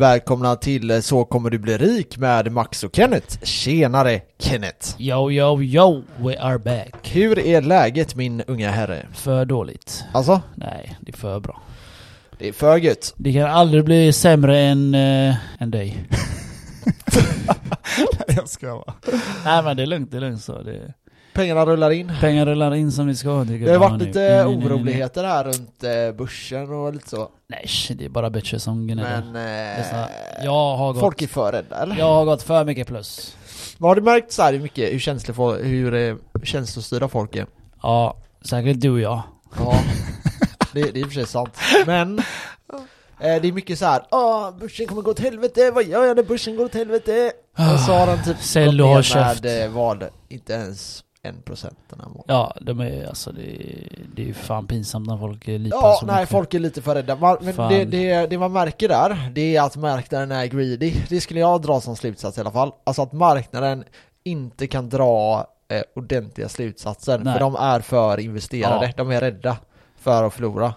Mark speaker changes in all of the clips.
Speaker 1: Välkomna till Så kommer du bli rik med Max och Kenneth. Tjenare Kenneth!
Speaker 2: Yo, yo, yo, we are back.
Speaker 1: Hur är läget min unga herre?
Speaker 2: För dåligt.
Speaker 1: Alltså,
Speaker 2: Nej, det är för bra.
Speaker 1: det är för gött.
Speaker 2: Det kan aldrig bli sämre än, eh, än dig.
Speaker 3: Jag ska vara.
Speaker 2: Nej men det är lugnt, det är lugnt så. Det,
Speaker 1: Pengarna rullar in.
Speaker 2: pengar rullar in som vi ska.
Speaker 1: Det
Speaker 2: tycker
Speaker 1: har
Speaker 2: jag
Speaker 1: varit
Speaker 2: nu.
Speaker 1: lite
Speaker 2: Nej, nej, nej,
Speaker 1: oroligheter här runt eh, börsen och lite så.
Speaker 2: Nej, nej, shit, det är bara bitches som gnäller.
Speaker 1: Men
Speaker 2: Det är
Speaker 1: eh,
Speaker 2: så- Jag har gått...
Speaker 1: folk är för rädda eller?
Speaker 2: Jag har gått för mycket plus.
Speaker 1: Vad har du märkt så här hur mycket, hur, känslig, fol- hur eh, känslostyrda folk är?
Speaker 2: Ja, säkert du och jag.
Speaker 1: Ja, det, det är i och för sig sant. Men eh, det är mycket så här, ah börsen kommer gå åt helvete, vad gör jag när börsen går åt helvete? Och så har den typ
Speaker 2: Sälj och
Speaker 1: gått
Speaker 2: håll
Speaker 1: ner
Speaker 2: käft.
Speaker 1: med eh, vad, inte ens en procent den här månaden.
Speaker 2: Ja, de är alltså det, är- det är ju fan pinsamt när folk eh, lipar
Speaker 1: Ja,
Speaker 2: så
Speaker 1: nej
Speaker 2: mycket.
Speaker 1: folk är lite för rädda. Man, men
Speaker 2: Fan.
Speaker 1: det, det, det man märker där, det är att marknaden är greedy. Det skulle jag dra som slutsats i alla fall. Alltså att marknaden inte kan dra eh, ordentliga slutsatser.
Speaker 2: Nej.
Speaker 1: För de är för investerade,
Speaker 2: Ja.
Speaker 1: de är rädda för att förlora.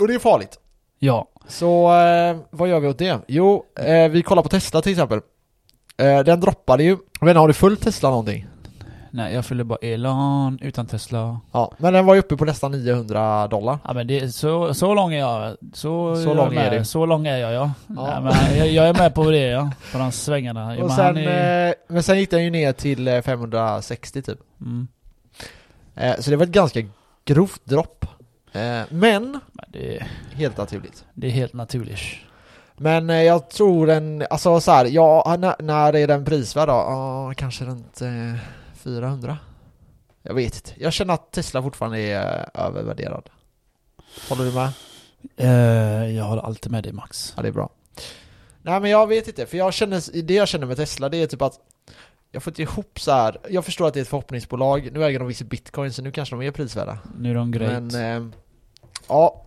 Speaker 1: Och det är farligt.
Speaker 2: Ja,
Speaker 1: Så eh, vad gör vi åt det? Jo, eh, vi kollar på Tesla till exempel. Eh, den droppade ju. Jag vet inte, har du följt Tesla någonting?
Speaker 2: nej jag fyller bara Elon utan Tesla.
Speaker 1: Ja, men den var ju uppe på nästan 900 dollar.
Speaker 2: Ja men det, är- så, så lång är jag. Så,
Speaker 1: Så
Speaker 2: jag
Speaker 1: lång
Speaker 2: med.
Speaker 1: är du.
Speaker 2: Så lång är jag ja.
Speaker 1: Ja.
Speaker 2: Nej, men jag, jag är med på det ja. På de svängarna. Ja,
Speaker 1: Och
Speaker 2: men
Speaker 1: sen,
Speaker 2: han är,
Speaker 1: eh, men sen gick den ju ner till eh, 560 typ.
Speaker 2: mm,
Speaker 1: Eh, så det var ett ganska grovt dropp. Eh, men,
Speaker 2: men det,
Speaker 1: helt naturligt.
Speaker 2: det är helt naturligt.
Speaker 1: Men eh, jag tror den, alltså så här, ja, när, när är den prisvärd då? Ja, kanske runt eh, 400. Jag vet inte. Jag känner att Tesla fortfarande är eh, övervärderad. Håller du med?
Speaker 2: Eh, jag håller alltid med dig Max.
Speaker 1: Ja, det är bra. Nej, men jag vet inte, för jag känner, det jag känner med Tesla, det är typ att jag får inte ihop så här. jag förstår att det är ett förhoppningsbolag, nu äger de visst bitcoin, så nu kanske de är prisvärda.
Speaker 2: Nu är de great.
Speaker 1: Men, eh, ja.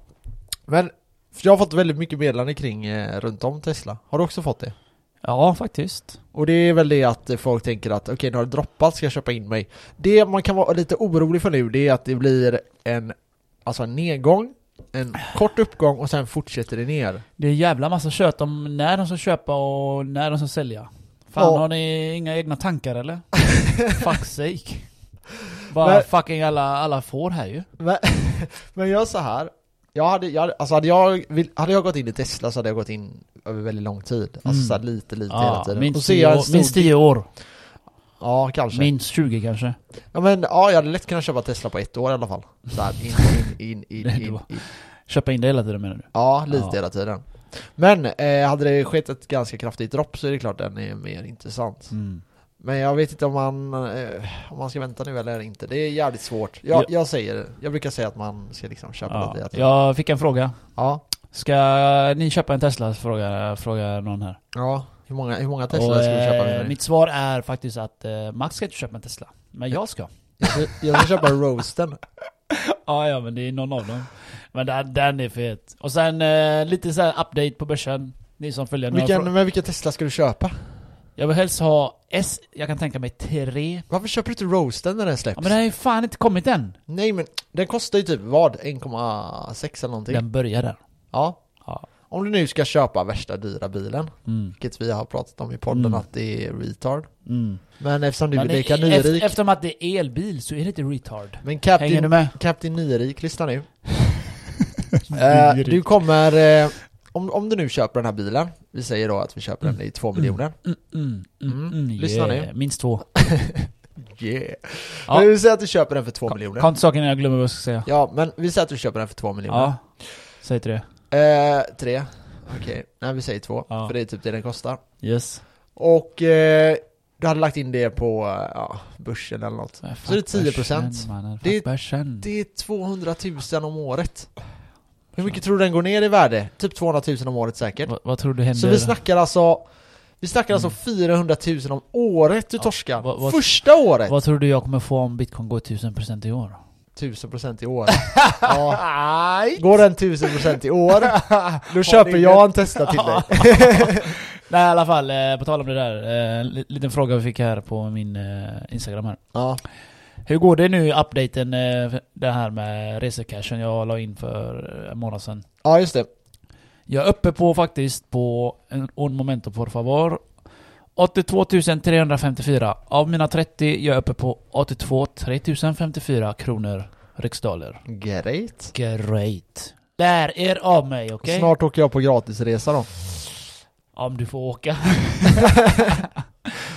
Speaker 1: Men, för jag har fått väldigt mycket meddelanden kring, eh, runt om Tesla. Har du också fått det?
Speaker 2: ja faktiskt.
Speaker 1: Och det är väl det att folk tänker att okej, nu har det droppat, ska jag köpa in mig? Det man kan vara lite orolig för nu, det är att det blir en, alltså en nedgång, en kort uppgång och sen fortsätter det ner.
Speaker 2: Det är jävla massa kött om när de ska köpa och när de ska sälja. Fan
Speaker 1: Ja.
Speaker 2: har ni inga egna tankar eller? Fuck sake. Bara
Speaker 1: Men-
Speaker 2: fucking alla, alla får här ju.
Speaker 1: Men, men jag så här, jag hade, jag, hade- alltså hade jag, vill- hade jag gått in i Tesla så hade jag gått in över väldigt lång tid. Alltså
Speaker 2: Mm.
Speaker 1: så här lite, lite hela
Speaker 2: Ja,
Speaker 1: tiden.
Speaker 2: minst,
Speaker 1: och ser
Speaker 2: tio
Speaker 1: jag en
Speaker 2: år,
Speaker 1: stor,
Speaker 2: minst 10 år.
Speaker 1: Ja, kanske.
Speaker 2: Minst 20 kanske.
Speaker 1: Ja, men ja, jag hade lätt kunnat köpa Tesla på ett år i alla fall. Så här, in, in, in, in,
Speaker 2: Nej,
Speaker 1: in,
Speaker 2: då.
Speaker 1: in.
Speaker 2: Köpa in det hela tiden menar du?
Speaker 1: Ja, lite
Speaker 2: Ja.
Speaker 1: hela tiden. Men eh, hade det skett ett ganska kraftigt dropp så är det klart den är mer intressant.
Speaker 2: Mm.
Speaker 1: Men jag vet inte om man, eh, om man ska vänta nu eller inte. Det är jävligt svårt. Jag,
Speaker 2: Ja.
Speaker 1: jag säger, jag brukar säga att man ska liksom köpa
Speaker 2: Ja.
Speaker 1: lite. Ja.
Speaker 2: Jag fick en fråga.
Speaker 1: Ja.
Speaker 2: Ska ni köpa en Tesla? Frågar, frågar någon här.
Speaker 1: ja. Hur många, hur många Tesla
Speaker 2: Och,
Speaker 1: ska du köpa?
Speaker 2: eh,
Speaker 1: nu?
Speaker 2: mitt svar är faktiskt att eh, Max ska inte köpa en Tesla. Men jag ska.
Speaker 1: Jag, ska, jag ska köpa roasten.
Speaker 2: ja, ja, men det är någon av dem. Men den, den är fet. Och sen eh, lite så här update på börsen. Ni som följer. några
Speaker 1: Vilken,
Speaker 2: frå-
Speaker 1: men vilken Tesla ska du köpa?
Speaker 2: Jag vill helst ha S, jag kan tänka mig 3.
Speaker 1: Varför köper du inte roasten när den släpps?
Speaker 2: Ja, men den har ju fan inte kommit än.
Speaker 1: Nej men, den kostar ju typ vad? 1,6 eller någonting?
Speaker 2: Den börjar där.
Speaker 1: Ja.
Speaker 2: Ja.
Speaker 1: Om du nu ska köpa värsta dyra bilen,
Speaker 2: Mm.
Speaker 1: vilket vi har pratat om i podden
Speaker 2: Mm.
Speaker 1: att det är retard.
Speaker 2: Mm.
Speaker 1: Men eftersom du
Speaker 2: Men
Speaker 1: vill leka
Speaker 2: e- eft-
Speaker 1: nyrik
Speaker 2: Eftersom att det är elbil så är det inte retard.
Speaker 1: Men
Speaker 2: Hänger du
Speaker 1: Captain,
Speaker 2: med?
Speaker 1: Captain Nyrik, lyssna nu Eh, Du kommer, eh, om, om du nu köper den här bilen Vi säger då att vi köper den i två miljoner
Speaker 2: Mm, mm, mm,
Speaker 1: Mm.
Speaker 2: mm,
Speaker 1: Lyssna nu.
Speaker 2: yeah. Minst två.
Speaker 1: Yeah
Speaker 2: Ja.
Speaker 1: Men vi säger att du köper den för två miljoner
Speaker 2: Kom till saken innan jag glömmer vad jag ska säga.
Speaker 1: Ja, men vi säger att du köper den för två miljoner
Speaker 2: Ja. Säg inte det.
Speaker 1: eh, Tre Okej, nej vi säger två
Speaker 2: Ja.
Speaker 1: För det är typ det den kostar
Speaker 2: Yes.
Speaker 1: Och eh, du hade lagt in det på eh, ja, börsen eller något Så det är 10%. Det
Speaker 2: Det
Speaker 1: är-
Speaker 2: är bärsen.
Speaker 1: Det är 200 000 om året Hur mycket tror du den går ner i värde? Typ 200 000 om året säkert
Speaker 2: Vad, vad tror du händer?
Speaker 1: Så vi snackar alltså Vi snackar alltså
Speaker 2: Mm.
Speaker 1: 400 000 om året du
Speaker 2: Ja,
Speaker 1: torskar!
Speaker 2: vad- vad-
Speaker 1: Första året!
Speaker 2: Vad tror du jag kommer få om bitcoin går 1000% i år?
Speaker 1: 1000% i år ja. Går den 1000% i år, då köper jag en Tesla till dig
Speaker 2: Nej i alla fall, eh, på tal om det där. eh, En li- liten fråga vi fick här på min eh, Instagram här.
Speaker 1: Ja,
Speaker 2: Hur går det nu i updaten, eh, det här med resecashen jag la in för eh, en månad sedan?
Speaker 1: ja just det
Speaker 2: Jag är uppe på faktiskt på en un momento por favor. 82 354. Av mina 30, jag är uppe på 82 3054 kronor riksdaler.
Speaker 1: Great.
Speaker 2: Great. Lär er av mig, okej?
Speaker 1: Snart åker jag på gratisresa då.
Speaker 2: Om du får åka.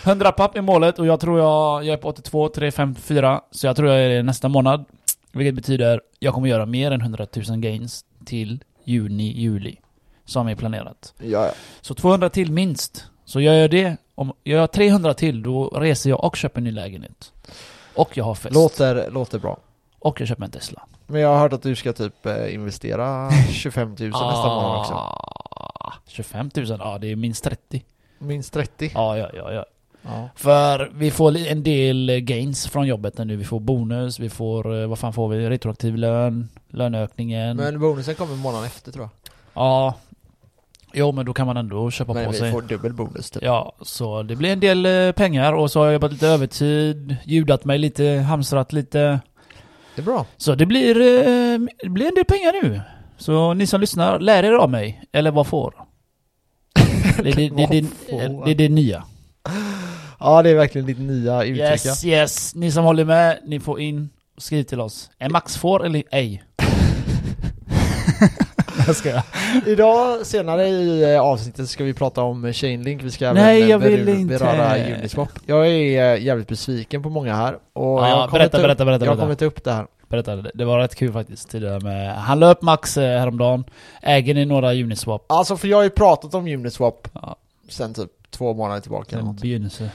Speaker 2: 100 papp i målet och jag tror jag, jag är på 82 354 så jag tror jag är det nästa månad. Vilket betyder jag kommer göra mer än 100 000 gains till juni, juli. Som är planerat.
Speaker 1: Ja, ja.
Speaker 2: Så 200 till minst. Så gör jag det, om jag gör 300 till, då reser jag och köper en ny lägenhet. Och jag har fest.
Speaker 1: Låter, låter bra.
Speaker 2: Och jag köper en Tesla.
Speaker 1: Men jag har hört att du ska typ eh, investera 25 000 nästa månad också.
Speaker 2: Ah, 25 000, Ah. ja det är minst 30.
Speaker 1: Minst 30.
Speaker 2: Ja, ja, ja, ja.
Speaker 1: Ja.
Speaker 2: För vi får li- en del eh, gains från jobbet nu. Vi får bonus, vi får, eh, vad fan får vi? Retroaktiv lön, löneökningen.
Speaker 1: Men bonusen kommer månaden efter tror jag.
Speaker 2: Ja. Jo men då kan man ändå köpa
Speaker 1: Men
Speaker 2: på
Speaker 1: vi
Speaker 2: sig.
Speaker 1: får dubbel bonus typ.
Speaker 2: Ja, så det blir en del eh, pengar och så har jag jobbat lite övertid, ljudat mig lite, hamstrat lite.
Speaker 1: Det är bra.
Speaker 2: Så det blir, eh, det blir en del pengar nu. Så ni som lyssnar, lär er av mig. Eller vad får? Det, det, det, det, det,
Speaker 1: får?
Speaker 2: det är det nya.
Speaker 1: Ja, det är verkligen ditt nya uttryck ja.
Speaker 2: Yes, yes. Ni som håller med, ni får in och skriv till oss. Är Max får eller ej? Jag skojar.
Speaker 1: Idag senare i eh, avsnittet ska vi prata om Chainlink, vi ska
Speaker 2: Nej,
Speaker 1: även eh,
Speaker 2: jag vill
Speaker 1: beru-
Speaker 2: inte.
Speaker 1: beröra Uniswap Jag är eh, jävligt besviken på många här och jag
Speaker 2: Ja,
Speaker 1: kommer
Speaker 2: berätta,
Speaker 1: inte-
Speaker 2: berätta, berätta.
Speaker 1: Jag
Speaker 2: berätta.
Speaker 1: kommer ta upp det här
Speaker 2: berätta. Det- Det var rätt kul faktiskt. Det där med, han la upp Max eh, häromdagen. Äger ni några Uniswap?
Speaker 1: Alltså för jag har ju pratat om Uniswap
Speaker 2: Ja.
Speaker 1: sen typ två månader tillbaka eller
Speaker 2: En
Speaker 1: något.
Speaker 2: begynnelse.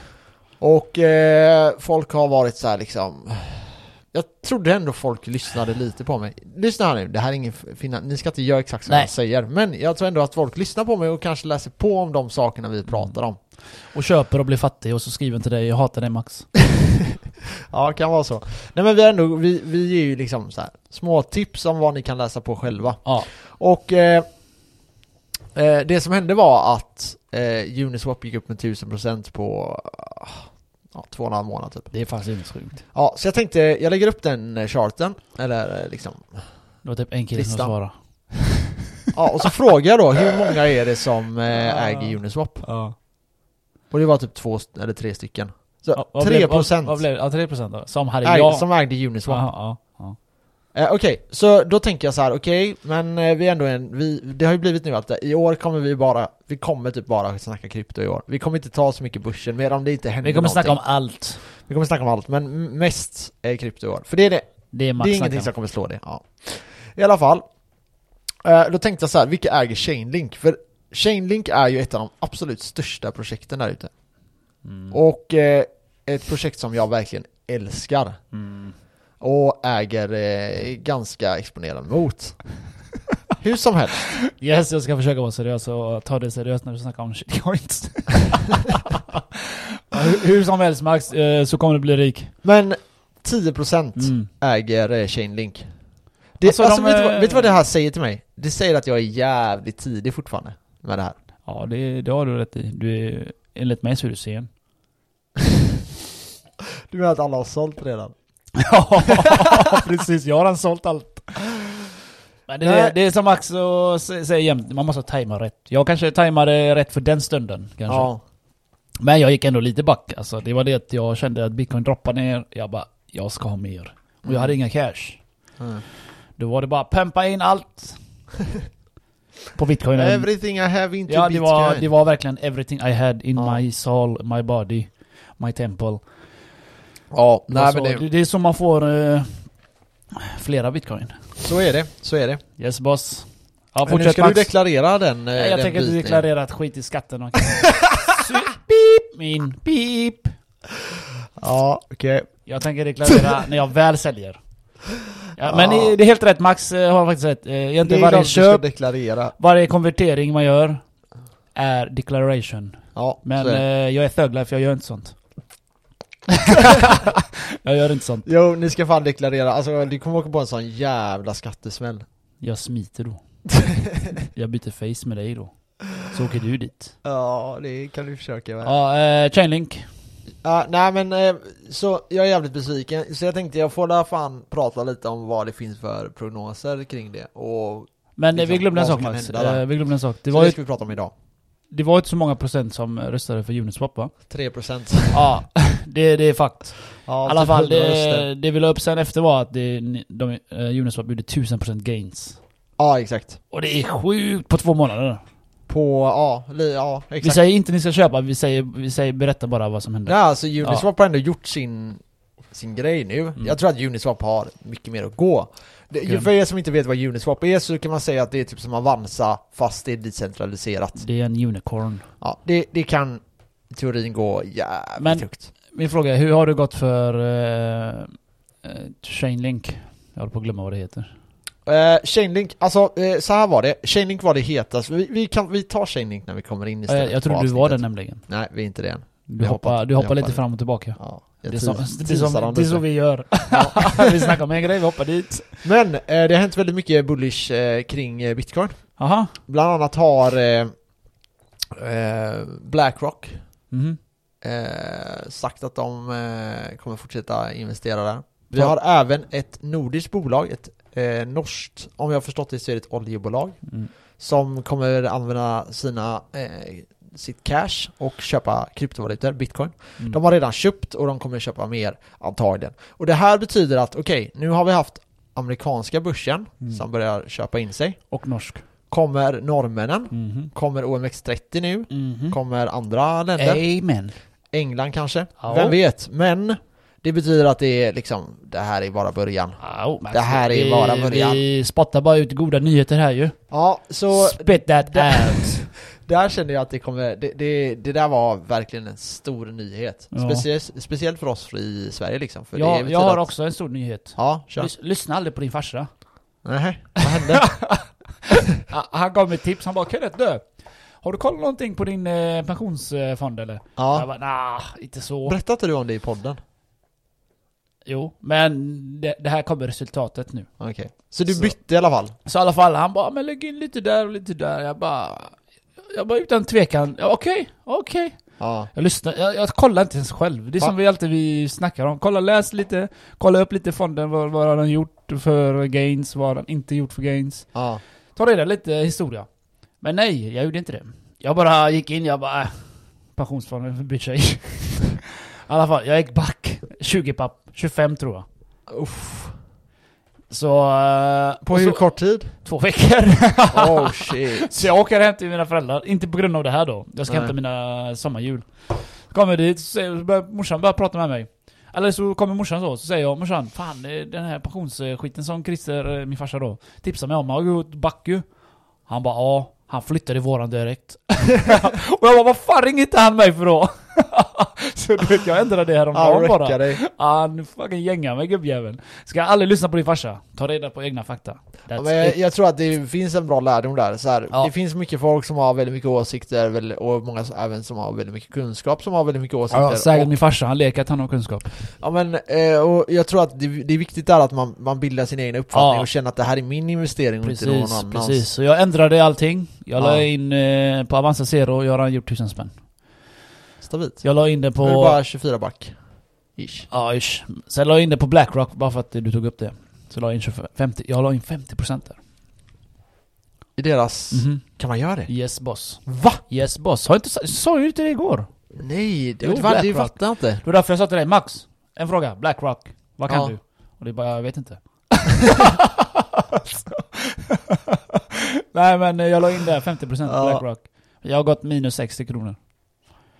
Speaker 1: Och eh, folk har varit så här liksom Jag trodde ändå folk lyssnade lite på mig Lyssna här nu, det här är ingen fina, ni ska inte göra exakt som
Speaker 2: Nej.
Speaker 1: jag säger Men jag tror ändå att folk lyssnar på mig och kanske läser på om de sakerna vi pratar om
Speaker 2: Och köper och blir fattig och så skriver han till dig, jag hatar dig Max.
Speaker 1: Ja, kan vara så. Nej men vi, är ändå, vi, vi ger ju liksom så här, små tips om vad ni kan läsa på själva.
Speaker 2: Ja.
Speaker 1: Och eh, eh, det som hände var att eh, Uniswap gick upp med 1000% på ah, ja, två och en halv månad typ.
Speaker 2: Det är faktiskt inte sjukt.
Speaker 1: Ja, så jag tänkte, jag lägger upp den eh, charten, eller eh, liksom.
Speaker 2: Det var typ en kille som
Speaker 1: Listan.
Speaker 2: svarade.
Speaker 1: Ja, och så frågar jag då, hur många är det som eh, äger Uniswap?
Speaker 2: Ja.
Speaker 1: Och det var typ två st- eller tre stycken. Så
Speaker 2: Ja, vad blev-
Speaker 1: 3%
Speaker 2: Vad, vad blev det? Ja, 3% då. Som hade
Speaker 1: äg,
Speaker 2: jag.
Speaker 1: som ägde Uniswap.
Speaker 2: Aha, ja, ja.
Speaker 1: Eh, okej, så då tänker jag så här, okej, men eh, vi är ändå en, vi, det har ju blivit nu att eh, i år kommer vi bara, vi kommer typ bara snacka krypto i år. Vi kommer inte ta så mycket börsen, mer om det inte händer
Speaker 2: Vi kommer
Speaker 1: någonting.
Speaker 2: snacka om allt.
Speaker 1: Vi kommer snacka om allt, men m- mest eh, krypto i år. För det är, det,
Speaker 2: Det är Max
Speaker 1: det är ingenting
Speaker 2: snackar
Speaker 1: som
Speaker 2: om.
Speaker 1: kommer slå det. Ja. I alla fall, eh, då tänkte jag så här, vilka äger Chainlink? För Chainlink är ju ett av de absolut största projekten där ute.
Speaker 2: Mm.
Speaker 1: Och eh, ett projekt som jag verkligen älskar.
Speaker 2: Mm.
Speaker 1: Och äger eh, ganska exponerad mot. Hur som helst.
Speaker 2: Yes, jag ska försöka vara seriös och ta det seriöst när vi snackar om shitcoins. Ja, hur, hur som helst Max, eh, så kommer du bli rik.
Speaker 1: Men 10%
Speaker 2: Mm.
Speaker 1: äger eh, Chainlink. Det, alltså,
Speaker 2: Alltså, de,
Speaker 1: vet, du vad,
Speaker 2: eh,
Speaker 1: vet du vad det här säger till mig? Det säger att jag är jävligt tidig fortfarande med det här.
Speaker 2: Ja, det, det har du rätt i. Du är, enligt mig så är du sen.
Speaker 1: Du menar att alla har sålt redan?
Speaker 2: Ja, precis. Jag har redan sålt allt. Men det,
Speaker 1: Nej.
Speaker 2: det är som Max och s- säger jämt, man måste tajma rätt. Jag kanske tajmade rätt för den stunden. Kanske.
Speaker 1: Ja.
Speaker 2: Men jag gick ändå lite back. Alltså, det var det att jag kände att bitcoin droppade ner. Jag bara, jag ska ha mer. Och jag hade inga cash.
Speaker 1: Mm.
Speaker 2: Då var det bara pumpa in allt. På bitcoin.
Speaker 1: Everything I have into
Speaker 2: ja, det
Speaker 1: bitcoin.
Speaker 2: var, det var verkligen everything I had in
Speaker 1: Ja.
Speaker 2: my soul, my body, my temple.
Speaker 1: Ja, nej,
Speaker 2: Alltså,
Speaker 1: men det,
Speaker 2: det är så man får eh, flera bitcoin.
Speaker 1: så är det. Så är det.
Speaker 2: Yes boss. Ja,
Speaker 1: men nu
Speaker 2: fortsätt
Speaker 1: ska
Speaker 2: Max.
Speaker 1: du deklarera den, eh,
Speaker 2: Nej, jag
Speaker 1: den
Speaker 2: tänker inte
Speaker 1: biten.
Speaker 2: deklarera att skit i skatten och Sy- Pip! Min pip!
Speaker 1: Ja, okej.
Speaker 2: Jag tänker deklarera när jag väl säljer. Ja, men
Speaker 1: Ja.
Speaker 2: i- det är helt rätt, Max eh, har faktiskt rätt. Eh,
Speaker 1: Det
Speaker 2: Egentligen
Speaker 1: är klart
Speaker 2: varje
Speaker 1: du ska
Speaker 2: köp,
Speaker 1: deklarera.
Speaker 2: varje konvertering man gör är declaration.
Speaker 1: Ja,
Speaker 2: Men
Speaker 1: så är det.
Speaker 2: eh, jag är thug-life, jag gör inte sånt. jag gör inte sånt.
Speaker 1: Jo, ni ska fan deklarera. Alltså, du kommer åka på en sån jävla skattesmäll.
Speaker 2: Jag smiter då. jag byter face med dig då. Så åker du dit.
Speaker 1: Ja, det kan du försöka med.
Speaker 2: Ja, eh, Chainlink.
Speaker 1: Ja, nej men eh, så jag är jävligt besviken. Så jag tänkte jag får där fan prata lite om vad det finns för prognoser kring det. Och
Speaker 2: Men
Speaker 1: Det är
Speaker 2: eh, vi
Speaker 1: klart,
Speaker 2: glömde
Speaker 1: vad
Speaker 2: en sak
Speaker 1: som kan
Speaker 2: Max.
Speaker 1: hända där.
Speaker 2: Eh, Vi glömde en sak. Det
Speaker 1: Det
Speaker 2: var,
Speaker 1: det
Speaker 2: ju,
Speaker 1: ska vi prata om idag.
Speaker 2: det var inte så många procent som röstade för Uniswap va?
Speaker 1: 3%
Speaker 2: Ja, det, det är fakt. I
Speaker 1: Ja,
Speaker 2: alla
Speaker 1: typ
Speaker 2: fall,
Speaker 1: 100 röster.
Speaker 2: det, det vi la upp sen efter var att det, ni- de, eh, Uniswap gjorde 1000% gains.
Speaker 1: Ja, exakt.
Speaker 2: Och det är sjukt på två månader.
Speaker 1: På, ja, li, ja exakt.
Speaker 2: Vi säger inte ni ska köpa, vi säger, vi säger berätta bara vad som hände.
Speaker 1: Ja, alltså Uniswap har ändå gjort sin, sin grej nu.
Speaker 2: Mm.
Speaker 1: Jag tror att Uniswap har mycket mer att gå. Det, ju
Speaker 2: Grymt.
Speaker 1: för er som inte vet vad Uniswap är så kan man säga att det är typ som Avanza fast det är decentraliserat.
Speaker 2: Det är en unicorn.
Speaker 1: Ja, det, det kan i teorin gå jävligt
Speaker 2: Men-
Speaker 1: högt.
Speaker 2: Min fråga är, hur har det gått för eh, eh, Chainlink? Jag håller på att glömma vad det heter.
Speaker 1: Eh, Chainlink, alltså eh, så här var det. Chainlink var det hetaste. Vi, vi, kan, vi tar Chainlink när vi kommer in
Speaker 2: Eh,
Speaker 1: istället.
Speaker 2: jag
Speaker 1: på
Speaker 2: tror du var det
Speaker 1: avsnittet.
Speaker 2: nämligen.
Speaker 1: Nej, vi är inte det än.
Speaker 2: Du
Speaker 1: Jag
Speaker 2: hoppar,
Speaker 1: hoppade-
Speaker 2: du hoppar
Speaker 1: jag
Speaker 2: lite
Speaker 1: hoppade.
Speaker 2: fram och tillbaka.
Speaker 1: Ja, jag
Speaker 2: Det är, som,
Speaker 1: teas-
Speaker 2: det, är
Speaker 1: teasar
Speaker 2: som,
Speaker 1: om
Speaker 2: det är så
Speaker 1: lite.
Speaker 2: vi gör. vi snackar om en grej, vi hoppar dit.
Speaker 1: Men eh, det har hänt väldigt mycket bullish eh, kring eh, bitcoin.
Speaker 2: Aha.
Speaker 1: Bland annat har eh, eh, Blackrock
Speaker 2: Mhm.
Speaker 1: eh, sagt att de eh, kommer fortsätta investera där. Vi
Speaker 2: Ja.
Speaker 1: har även ett nordiskt bolag, ett eh, norskt, om jag har förstått det så är det ett oljebolag,
Speaker 2: Mm.
Speaker 1: som kommer använda sina, eh, sitt cash och köpa kryptovalutor, bitcoin.
Speaker 2: Mm.
Speaker 1: De har redan köpt och de kommer köpa mer antagligen. Och det här betyder att okej, nu har vi haft amerikanska börsen
Speaker 2: Mm.
Speaker 1: som börjar köpa in sig.
Speaker 2: Och norsk.
Speaker 1: Kommer norrmännen,
Speaker 2: Mhm.
Speaker 1: kommer OMX30 nu,
Speaker 2: Mhm.
Speaker 1: kommer andra länder,
Speaker 2: Amen.
Speaker 1: England kanske,
Speaker 2: Ja.
Speaker 1: vem vet? Men det betyder att det är liksom, det här är bara början.
Speaker 2: Au, Max.
Speaker 1: Det här är
Speaker 2: Vi-
Speaker 1: bara början.
Speaker 2: Vi spottar bara ut goda nyheter här ju.
Speaker 1: Ja, så
Speaker 2: Spit that
Speaker 1: Där-
Speaker 2: out.
Speaker 1: där kände jag att det kommer, det, det, det där var verkligen en stor nyhet.
Speaker 2: Ja.
Speaker 1: Speciellt, speciellt för oss i Sverige liksom. För det
Speaker 2: jag,
Speaker 1: betyder
Speaker 2: jag har
Speaker 1: att-
Speaker 2: också en stor nyhet.
Speaker 1: Ja, kör.
Speaker 2: Lys- Lyssna aldrig på din farsa.
Speaker 1: Nej, vad hände?
Speaker 2: Ah, Han gav mig ett tips, han bara 'Kenneth du, har du kollat någonting på din eh, pensionsfond eller?' Jag
Speaker 1: Ja.
Speaker 2: bara 'Nah, inte så'
Speaker 1: Berättade inte du om det i podden?
Speaker 2: Jo, men det, det här kommer resultatet nu.
Speaker 1: Okej. Så du
Speaker 2: Så.
Speaker 1: bytte i alla fall?
Speaker 2: Så i alla fall, han bara 'Men lägg in lite där och lite där' Jag bara... Jag bara utan tvekan, "Ja, okej, okej.
Speaker 1: Ja.
Speaker 2: Jag lyssnar, jag, jag kollar inte ens själv. Det är
Speaker 1: Va?
Speaker 2: som vi alltid vi snackar om. Kolla, läs lite, kolla upp lite fonden, vad, vad har den gjort för gains, vad har den inte gjort för gains.
Speaker 1: Ja.
Speaker 2: Ta reda lite historia. Men nej, jag gjorde inte det. Jag bara gick in, jag bara... Äh, pensionsfonden för bitch I alla fall, jag gick back. 20 papp. 25 tror jag.
Speaker 1: Uff.
Speaker 2: Så... eh,
Speaker 1: På
Speaker 2: och
Speaker 1: hur
Speaker 2: så,
Speaker 1: kort tid?
Speaker 2: Två veckor.
Speaker 1: Oh shit.
Speaker 2: så jag åker hem till mina föräldrar. Inte på grund av det här då. Jag ska
Speaker 1: Nej.
Speaker 2: hämta mina sommarhjul. Kommer dit, så säger, så börjar morsan börja prata med mig. Eller så kommer morsan så, så säger jag morsan, fan eh, den här pensionsskiten som Christer, eh, min farsa då, tipsade mig om, har gått back ju. Han bara ja, han flyttade våran direkt. och jag bara vad fan ringde inte han mig för då? så du vet jag ändrade det
Speaker 1: Ja,
Speaker 2: häromdagen
Speaker 1: wrecka
Speaker 2: bara.
Speaker 1: dig.
Speaker 2: Han fucking gängar mig gubbjäveln. Ska aldrig lyssna på din farsa. Ta reda på egna fakta.
Speaker 1: Ja,
Speaker 2: That's
Speaker 1: men jag,
Speaker 2: it.
Speaker 1: jag tror att det finns en bra lärdom där. Så här,
Speaker 2: Ja.
Speaker 1: Det finns mycket folk som har väldigt mycket åsikter väl- och många som, även som har väldigt mycket kunskap som har väldigt mycket åsikter.
Speaker 2: Ja, säkert
Speaker 1: och,
Speaker 2: min farsa, han leker att han har kunskap.
Speaker 1: ja, men, eh, och jag tror att det, det är viktigt där att man, man bildar sin egen uppfattning
Speaker 2: Ja.
Speaker 1: och känner att det här är min investering och inte någon
Speaker 2: Precis,
Speaker 1: annans.
Speaker 2: precis. Så jag ändrade allting. Jag la
Speaker 1: Ja.
Speaker 2: in eh, på Avanza Zero, jag har redan gjort tusen spänn.
Speaker 1: Stabilt.
Speaker 2: Jag la in det
Speaker 1: Nu är det
Speaker 2: på...
Speaker 1: bara 24 back. Ish.
Speaker 2: Ja, ish. Sen la jag in det på Blackrock bara för att eh, du tog upp det. Så la jag in 25, 50, jag la in 50% där.
Speaker 1: I deras...
Speaker 2: Mhm.
Speaker 1: Kan man göra det?
Speaker 2: Yes boss.
Speaker 1: Va?
Speaker 2: Yes boss. Har jag inte sa- sa ju inte det igår?
Speaker 1: Nej, det,
Speaker 2: Jo,
Speaker 1: det, det
Speaker 2: BlackRock.
Speaker 1: fattar jag inte.
Speaker 2: Det var därför jag sa till dig, Max, en fråga. Blackrock, vad kan
Speaker 1: Ja.
Speaker 2: du? Och det är bara, jag vet inte. Nej men eh, jag la in där 50%
Speaker 1: Ja.
Speaker 2: på Blackrock. Jag har gått minus 60 kronor.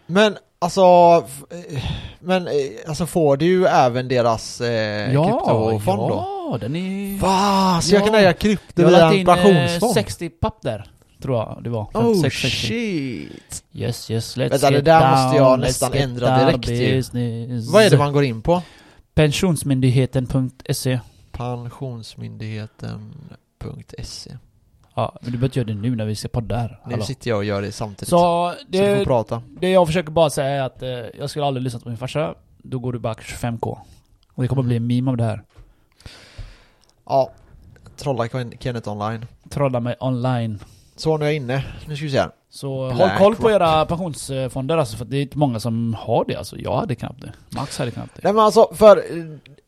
Speaker 1: Men alltså, f- eh, men eh, alltså får du även deras eh, kryptofond då?
Speaker 2: ja, den är...
Speaker 1: Va? Så jag kan
Speaker 2: Ja.
Speaker 1: äga krypto
Speaker 2: Jag har
Speaker 1: via
Speaker 2: lagt
Speaker 1: en
Speaker 2: in eh,
Speaker 1: pensionsfond?
Speaker 2: 60 papp där, tror jag det var.
Speaker 1: Oh
Speaker 2: 56, 60.
Speaker 1: shit!
Speaker 2: Yes, yes, let's
Speaker 1: Vänta, det
Speaker 2: get
Speaker 1: där
Speaker 2: down,
Speaker 1: måste jag
Speaker 2: let's
Speaker 1: nästan
Speaker 2: get
Speaker 1: ändra
Speaker 2: down
Speaker 1: direkt ju.
Speaker 2: business.
Speaker 1: Vad är det man går in på?
Speaker 2: Pensionsmyndigheten.se
Speaker 1: Pensionsmyndigheten.se
Speaker 2: Ja, men du behöver inte göra det nu när vi ska podda här.
Speaker 1: Nu
Speaker 2: Hallå.
Speaker 1: sitter jag och gör det samtidigt. Så,
Speaker 2: Så
Speaker 1: du får
Speaker 2: det,
Speaker 1: prata.
Speaker 2: det jag försöker bara säga är att eh, jag skulle aldrig lyssna på min farsa. Då går du back 25k. Och det kommer bli en meme av det här.
Speaker 1: Ja, trolla Ken- Kenneth online.
Speaker 2: Trolla mig online.
Speaker 1: Så nu är jag inne. Nu ska vi se här.
Speaker 2: Så
Speaker 1: Black
Speaker 2: håll koll på
Speaker 1: Rock.
Speaker 2: era pensionsfonder alltså, för det är inte många som har det alltså. Jag hade knappt det. Max hade knappt det.
Speaker 1: Nej men alltså, för eh,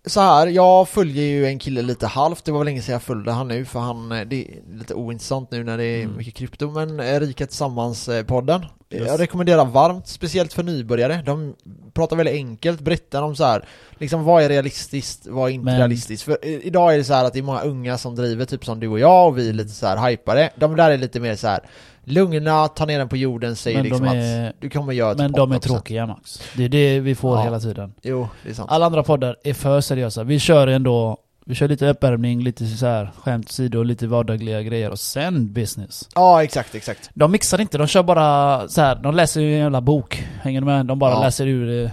Speaker 1: så här, jag följer ju en kille lite halvt, det var väl länge sedan jag följde han nu för han, eh, det är lite ointressant nu när det är
Speaker 2: Mm.
Speaker 1: mycket krypto, men eh, Rika Tillsammans-podden.
Speaker 2: Yes.
Speaker 1: Jag rekommenderar varmt, speciellt för nybörjare. De pratar väldigt enkelt, berättar om så här, liksom vad är realistiskt, vad är inte
Speaker 2: Men-
Speaker 1: realistiskt? För eh, idag är det så här att det är många unga som driver, typ som du och jag, och vi är lite så här hypade. De där är lite mer så här lugna, ta ner den på jorden, säger
Speaker 2: Men de
Speaker 1: liksom
Speaker 2: är-
Speaker 1: att du kommer göra
Speaker 2: Men de är
Speaker 1: 8%.
Speaker 2: tråkiga Max. Det är det vi får
Speaker 1: Ja.
Speaker 2: hela tiden.
Speaker 1: Jo, det är sant.
Speaker 2: Alla andra poddar är för seriösa. Vi kör ändå, vi kör lite uppvärmning, lite så här skämt sidor, lite vardagliga grejer och sen business.
Speaker 1: Ja, exakt, exakt.
Speaker 2: De mixar inte, de kör bara så här. de läser ju en jävla bok. Hänger du med? De bara
Speaker 1: Ja.
Speaker 2: läser ur eh,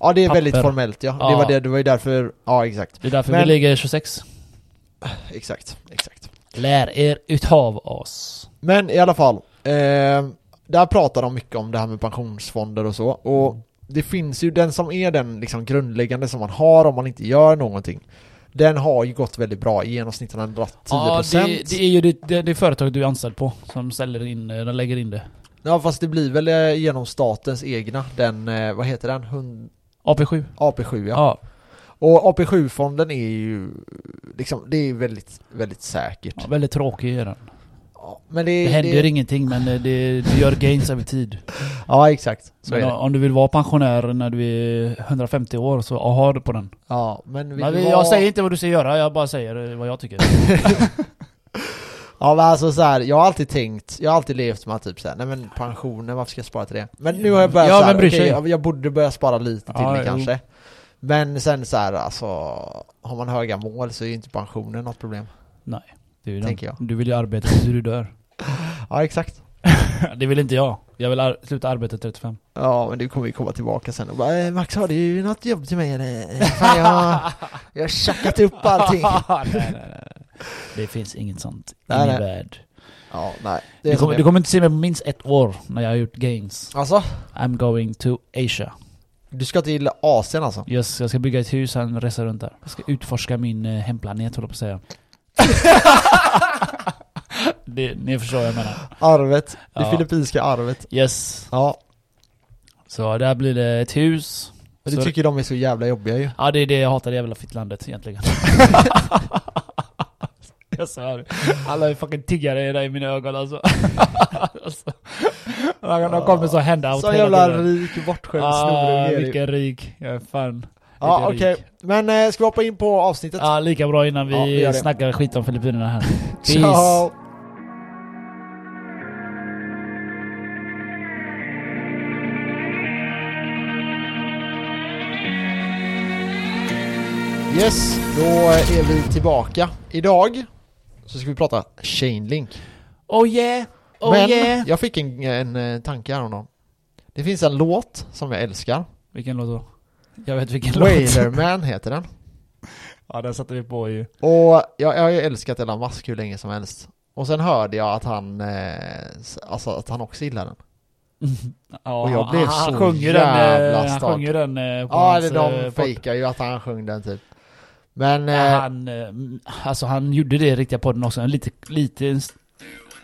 Speaker 1: Ja det är
Speaker 2: papper.
Speaker 1: väldigt formellt ja. Det,
Speaker 2: Ja.
Speaker 1: var det, det var ju därför, ja exakt.
Speaker 2: Det är därför
Speaker 1: Men-
Speaker 2: vi ligger 26.
Speaker 1: Exakt, exakt.
Speaker 2: Lär er utav oss.
Speaker 1: Men i alla fall, eh, där pratar de mycket om det här med pensionsfonder och så. Och
Speaker 2: Mm.
Speaker 1: det finns ju den som är den liksom grundläggande som man har om man inte gör någonting. Den har ju gått väldigt bra, i genomsnitt har den dragit 10%.
Speaker 2: Ja, det, det är ju det, det, det företag du är anställd på som ställer in, eh, de lägger in det.
Speaker 1: Ja fast det blir väl eh, genom statens egna, den, eh, vad heter den? Hund...
Speaker 2: AP7?
Speaker 1: AP7 ja.
Speaker 2: Ja.
Speaker 1: Och AP7-fonden är ju, liksom, det är ju väldigt, väldigt säkert.
Speaker 2: ja. Väldigt tråkig är den.
Speaker 1: Ja, men
Speaker 2: Det
Speaker 1: det,
Speaker 2: händer ingenting men eh, det, du gör gains över tid.
Speaker 1: Ja exakt, så
Speaker 2: Men
Speaker 1: är det.
Speaker 2: om du vill vara pensionär när du är 150 år så ja, ha det på den.
Speaker 1: Ja, men, vill
Speaker 2: Men
Speaker 1: du
Speaker 2: vi,
Speaker 1: vara-
Speaker 2: jag säger inte vad du ska göra, jag bara säger eh, vad jag tycker.
Speaker 1: Ja men alltså så här, jag har alltid tänkt, jag har alltid levt med att typ såhär, nej men pensionen, varför ska jag spara till det? Men nu har jag börjat
Speaker 2: Ja,
Speaker 1: så här,
Speaker 2: vem bryr
Speaker 1: okej,
Speaker 2: sig?
Speaker 1: jag, jag borde börja spara lite till
Speaker 2: Ja,
Speaker 1: det
Speaker 2: jo.
Speaker 1: kanske. Men sen så här, alltså, har man höga mål så är ju inte pensionen något problem.
Speaker 2: Det är ju
Speaker 1: Tänker jag.
Speaker 2: den. Du vill ju arbeta tills du dör.
Speaker 1: Ja exakt.
Speaker 2: Det vill inte jag. Jag vill ar- sluta arbeta 35.
Speaker 1: Ja men du kommer ju komma tillbaka sen och bara, eh, Max har du något jobb till mig eller? Eh, Fan, jag, jag har tjackat upp allting.
Speaker 2: nej, nej, nej. Det finns inget sånt
Speaker 1: Nej,
Speaker 2: i
Speaker 1: nej.
Speaker 2: min värld.
Speaker 1: Ja nej. Det är
Speaker 2: Du
Speaker 1: som
Speaker 2: kommer,
Speaker 1: det
Speaker 2: du
Speaker 1: är.
Speaker 2: kommer inte se mig på minst ett år när jag har gjort gains.
Speaker 1: Alltså,
Speaker 2: I'm going to Asia.
Speaker 1: du ska till Asien alltså?
Speaker 2: Yes, jag ska bygga ett hus, sen resa runt där. Jag ska utforska min eh, hemplanet håller jag på att säga. det, ni förstår vad jag menar.
Speaker 1: Arvet, det
Speaker 2: Ja.
Speaker 1: filippinska arvet.
Speaker 2: Yes.
Speaker 1: Ja,
Speaker 2: Så där blir det ett hus.
Speaker 1: och det
Speaker 2: Så-
Speaker 1: tycker de är så jävla jobbiga ju.
Speaker 2: Ja det är det jag hatar, det jävla fittlandet egentligen. jag svär. Alla är fucking tiggare där i mina ögon alltså. alltså. De kommer så hända
Speaker 1: Så jävla rik bortskämd
Speaker 2: Ah,
Speaker 1: snorunge.
Speaker 2: vilken rik. Jag är fan.
Speaker 1: Ja
Speaker 2: vilken
Speaker 1: okej,
Speaker 2: rik.
Speaker 1: men eh, ska vi hoppa in på avsnittet?
Speaker 2: Ja, lika bra innan vi,
Speaker 1: Ja, vi gör det.
Speaker 2: snackar skit om Filippinerna här.
Speaker 1: Ciao.
Speaker 2: peace.
Speaker 1: Yes, då eh, är vi tillbaka. Idag så ska vi prata Chainlink.
Speaker 2: Oh yeah! Oh
Speaker 1: men
Speaker 2: yeah!
Speaker 1: jag fick en, en eh, tanke häromdagen. Det finns en låt som jag älskar.
Speaker 2: Vilken låt då? Jag vet vilken låt.
Speaker 1: Wailerman heter den.
Speaker 2: Ja den satte vi på ju.
Speaker 1: Och jag, jag har ju älskat Elon Musk hur länge som helst. Och sen hörde jag att han, eh, s- alltså att han också gillar den.
Speaker 2: Ja,
Speaker 1: Och jag blev
Speaker 2: han, han
Speaker 1: så
Speaker 2: sjöng ju den,
Speaker 1: jävla
Speaker 2: eh, Han
Speaker 1: stad.
Speaker 2: sjöng ju den eh, på
Speaker 1: Ja,
Speaker 2: hans,
Speaker 1: eller
Speaker 2: eh,
Speaker 1: de
Speaker 2: podd.
Speaker 1: fejkar ju att han sjöng den typ. Men,
Speaker 2: Ja,
Speaker 1: eh,
Speaker 2: han, eh, m- alltså han gjorde det i riktiga podden också, en lite, lite... en st-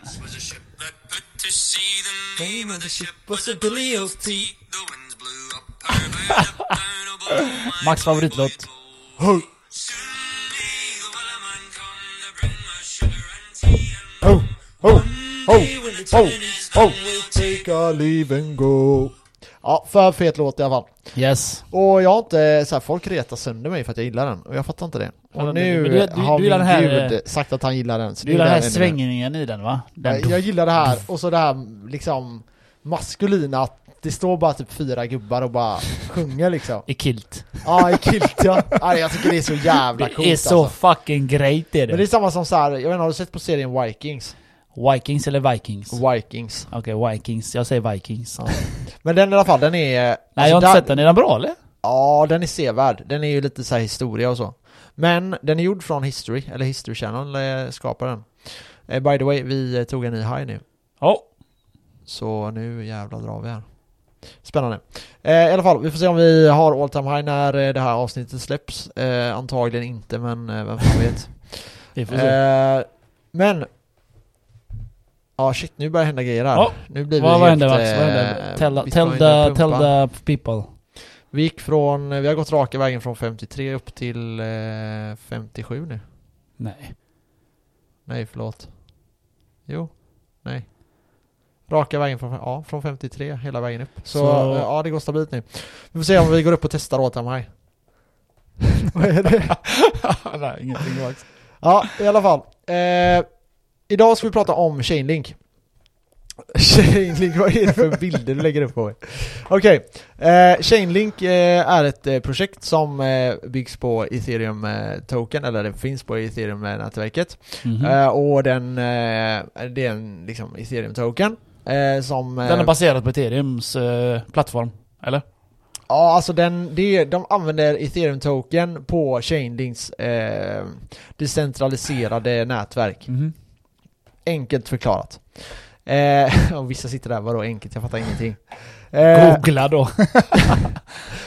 Speaker 3: was a ship that put to sea. The name of the ship was the Billy O.T. The winds blew up her bow, up down, oh, blow my
Speaker 2: Max
Speaker 3: boy,
Speaker 2: favoritlåt.
Speaker 3: boy, blow. Soon may the wellerman come to bring us sugar and tea and rum.
Speaker 1: oh,
Speaker 3: Hey, when the
Speaker 1: oh,
Speaker 3: turning is
Speaker 1: oh.
Speaker 3: done, we'll take
Speaker 1: Take a leave and go. Ja, för fet låt i alla fall.
Speaker 2: Yes.
Speaker 1: Och jag har inte, så här, folk retar sönder mig för att jag gillar den. Och jag fattar inte det.
Speaker 2: Fattar
Speaker 1: Och
Speaker 2: inte.
Speaker 1: nu
Speaker 2: Men du- du-
Speaker 1: har
Speaker 2: du gillar
Speaker 1: min
Speaker 2: den här, eh,
Speaker 1: gud sagt att han gillar den. Så
Speaker 2: Du
Speaker 1: nu
Speaker 2: gillar
Speaker 1: är
Speaker 2: den här
Speaker 1: ännu mer.
Speaker 2: svängningen i den va? Den,
Speaker 1: Jag, jag gillar det här, och så det här liksom maskulina, att det står bara typ fyra gubbar och bara sjunger liksom.
Speaker 2: I kilt.
Speaker 1: Ja, i kilt ja. ja. Jag tycker det är så jävla
Speaker 2: Det
Speaker 1: coolt
Speaker 2: är så
Speaker 1: alltså.
Speaker 2: fucking great är det.
Speaker 1: Men det är samma som så här, jag vet inte, har du sett på serien Vikings?
Speaker 2: Vikings eller Vikings?
Speaker 1: Vikings.
Speaker 2: Okej, Vikings. Jag säger Vikings.
Speaker 1: Ja. Alltså, Men den i alla fall, den är... Nej,
Speaker 2: Nej jag har inte sett den, är den bra eller?
Speaker 1: Ja, den är sevärd. Den är ju lite så här historia och så. Men den är gjord från History, eller History Channel eh, skapar den. Eh, By the way, vi eh, tog en ny high nu.
Speaker 2: Ja.
Speaker 1: Så nu jävlar drar vi här. Spännande. Eh, I alla fall, vi får se om vi har all time high när eh, det här avsnittet släpps. Eh, antagligen inte, men eh, vem fan vet.
Speaker 2: Vi får se.
Speaker 1: Eh, men Ja shit, nu börjar det hända grejer här.
Speaker 2: Ja.
Speaker 1: Nu blir vi
Speaker 2: Vad, vad hände
Speaker 1: helt,
Speaker 2: Max? Vad hände?
Speaker 1: eh,
Speaker 2: Tell,
Speaker 1: Bitcoin
Speaker 2: tell, the, tell
Speaker 1: pumpar.
Speaker 2: the people.
Speaker 1: Vi gick från, vi har gått raka vägen från 53 upp till eh, 57 nu.
Speaker 2: Nej.
Speaker 1: Nej, förlåt. Jo, nej. Raka vägen från, ja, från 53 hela vägen upp. Så,
Speaker 2: Så-
Speaker 1: eh, ja, det går stabilt nu. Vi får se om vi går upp och testar åt dem här. Vad är det?
Speaker 2: Nej, ingenting Max.
Speaker 1: Ja, i alla fall. Eh, idag ska vi prata om Chainlink. Chainlink, vad är det för bilder du lägger upp på mig? Okej, eh, Chainlink eh, är ett eh, projekt som eh, byggs på ethereum-token, eller det finns på ethereum-nätverket.
Speaker 2: Mhm.
Speaker 1: Eh, och den, eh, det är en liksom, ethereum-token. Eh, som...
Speaker 2: Den är
Speaker 1: eh,
Speaker 2: baserad på Ethereums eh, plattform, eller?
Speaker 1: Ja, alltså den, det, de använder ethereum-token på Chainlinks eh, decentraliserade nätverk.
Speaker 2: Mhm.
Speaker 1: Enkelt förklarat. Eh, och vissa sitter där, vadå enkelt? Jag fattar ingenting. Eh,
Speaker 2: Googla då.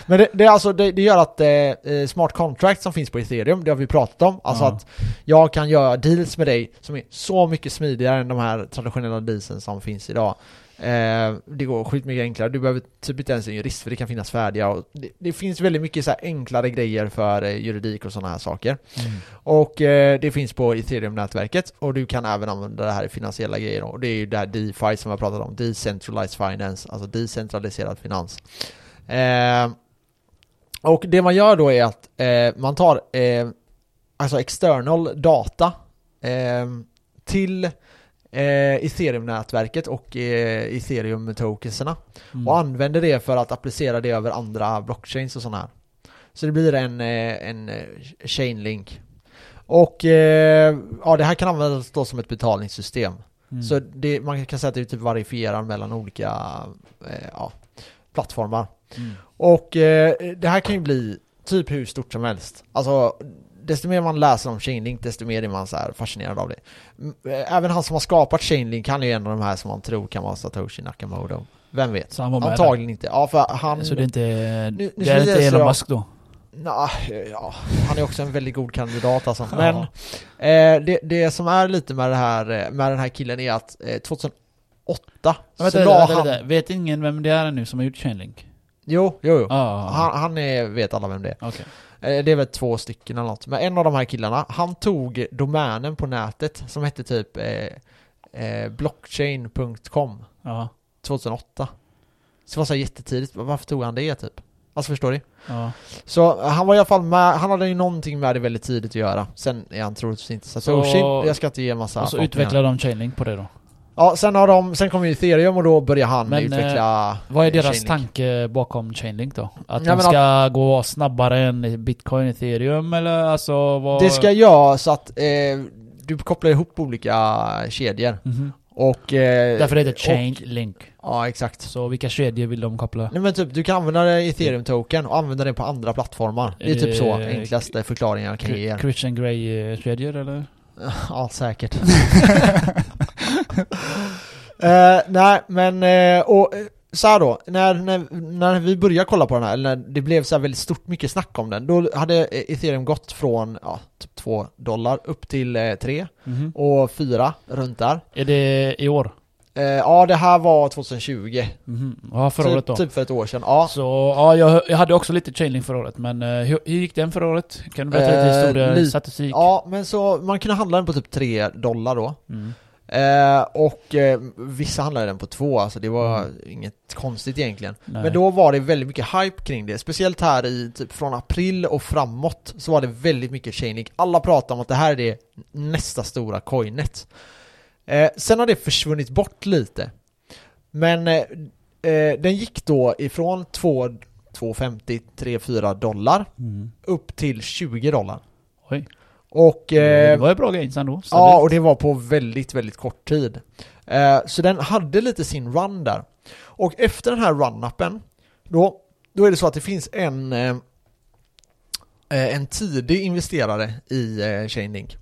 Speaker 1: men det, det, är alltså, det, det gör att eh, eh, smart contracts som finns på ethereum, det har vi pratat om, alltså
Speaker 2: Ja.
Speaker 1: att jag kan göra deals med dig som är så mycket smidigare än de här traditionella dealsen som finns idag. Eh, det går skitmycket enklare, du behöver typ inte ens en jurist för det kan finnas färdiga och det, det finns väldigt mycket så här enklare grejer för eh, juridik och sådana här saker. Och eh, det finns på ethereum-nätverket och du kan även använda det här i finansiella grejer och det är ju det här DeFi som jag pratat om, Decentralized Finance, alltså decentraliserad finans. Eh, och det man gör då är att eh, man tar eh, alltså external data eh, till eh, ethereum-nätverket och eh, ethereum-tokenserna
Speaker 2: Mm.
Speaker 1: och använder det för att applicera det över andra blockchains och sådana här. Så det blir en, eh, en eh, chainlink. Och eh, ja, det här kan användas då som ett betalningssystem.
Speaker 2: Mm.
Speaker 1: Så det, man kan säga att det typ varierar mellan olika eh, ja, plattformar.
Speaker 2: Mm.
Speaker 1: Och eh, det här kan ju bli typ hur stort som helst. Alltså, desto mer man läser om Chainlink, desto mer är man så här fascinerad av det. M- eh, Även han som har skapat Chainlink, han är ju en av de här som man tror kan vara Satoshi Nakamoto. Vem vet?
Speaker 2: Så han var med
Speaker 1: Antagligen inte. Ja, för
Speaker 2: där.
Speaker 1: han...
Speaker 2: Så det är inte,
Speaker 1: Nu- nu
Speaker 2: det är
Speaker 1: ska
Speaker 2: inte
Speaker 1: jag säga-
Speaker 2: Elon Musk då?
Speaker 1: Nja, ja, han är också en väldigt god kandidat alltså.
Speaker 2: Ja.
Speaker 1: Men eh, det, det som är lite med, det här, eh, med den här killen är att eh, 2008
Speaker 2: Men Vänta,
Speaker 1: så
Speaker 2: vänta,
Speaker 1: la
Speaker 2: vänta,
Speaker 1: han...
Speaker 2: vänta. Vet ingen vem det är nu som har gjort Chainlink?
Speaker 1: Jo, jo, jo.
Speaker 2: Ah,
Speaker 1: Han, han är, vet alla vem det är.
Speaker 2: okej.
Speaker 1: Eh, Det är väl två stycken eller något. Men en av de här killarna, han tog domänen på nätet som hette typ eh, eh, blockchain.com
Speaker 2: Ja,
Speaker 1: 2008. Så det var så här jättetidigt, varför tog han det typ? Alltså förstår du?
Speaker 2: ja.
Speaker 1: Så eh, han var i alla fall med, han hade ju någonting med det väldigt tidigt att göra. Sen är han troligtvis inte Satoshi,
Speaker 2: Så- alltså
Speaker 1: jag ska inte ge en massa
Speaker 2: Och så
Speaker 1: förhoppningar.
Speaker 2: utvecklar de Chainlink på det då.
Speaker 1: Ja, sen har de, sen kom ju ethereum och då började han
Speaker 2: Men, eh,
Speaker 1: utveckla...
Speaker 2: Vad är
Speaker 1: eh,
Speaker 2: deras
Speaker 1: Chainlink.
Speaker 2: tanke bakom Chainlink då? Att
Speaker 1: Ja,
Speaker 2: den
Speaker 1: men
Speaker 2: ska gå snabbare än bitcoin, ethereum eller alltså vad...
Speaker 1: Det ska göra så att eh, du kopplar ihop olika kedjor.
Speaker 2: Mhm.
Speaker 1: Och... Eh,
Speaker 2: Därför heter det
Speaker 1: och-
Speaker 2: Chainlink.
Speaker 1: Ja, exakt.
Speaker 2: Så vilka kedjor vill de koppla?
Speaker 1: Nej men typ, du kan använda ethereum-token och använda den på andra plattformar. Det är typ så
Speaker 2: Eh,
Speaker 1: enklaste förklaringen jag kan ge er.
Speaker 2: Christian Grey-kedjor eh, eller?
Speaker 1: Ja, säkert. Eh, nej, men eh, och eh, så här då, när, när, när vi började kolla på den här, eller när det blev så här väldigt stort mycket snack om den, då hade eh, ethereum gått från ja, typ 2 dollar upp till eh, 3
Speaker 2: Mhm.
Speaker 1: och 4 runt där.
Speaker 2: Är det i år?
Speaker 1: Eh, ja, det här var 2020.
Speaker 2: Mhm. Ja, förra året
Speaker 1: Typ,
Speaker 2: då.
Speaker 1: typ för ett år sedan. Ja.
Speaker 2: Så ja, jag, jag hade också lite Chainlink förra året, men eh, hur, hur gick den förra året? Kan du berätta lite
Speaker 1: Eh,
Speaker 2: historia,
Speaker 1: lite-
Speaker 2: statistik?
Speaker 1: ja, men så man kunde handla den på typ 3 dollar då.
Speaker 2: Mm.
Speaker 1: Eh, och eh, vissa handlade den på två, alltså det var
Speaker 2: Mm.
Speaker 1: inget konstigt egentligen.
Speaker 2: Nej.
Speaker 1: Men då var det väldigt mycket hype kring det, speciellt här i typ från april och framåt så var det väldigt mycket Chainlink. Alla pratade om att det här är det nästa stora coinet. Eh, sen har det försvunnit bort lite. Men eh, eh, den gick då ifrån 2 2,50, 3-4 dollar
Speaker 2: Mm.
Speaker 1: upp till 20 dollar.
Speaker 2: Oj.
Speaker 1: Och...
Speaker 2: det
Speaker 1: Eh,
Speaker 2: var ju bra gains ändå.
Speaker 1: Ja,
Speaker 2: stabilt.
Speaker 1: och det var på väldigt, väldigt kort tid. Eh, så den hade lite sin run där. Och efter den här run-upen, då, då är det så att det finns en, eh, eh, en tidig investerare i eh, Chainlink.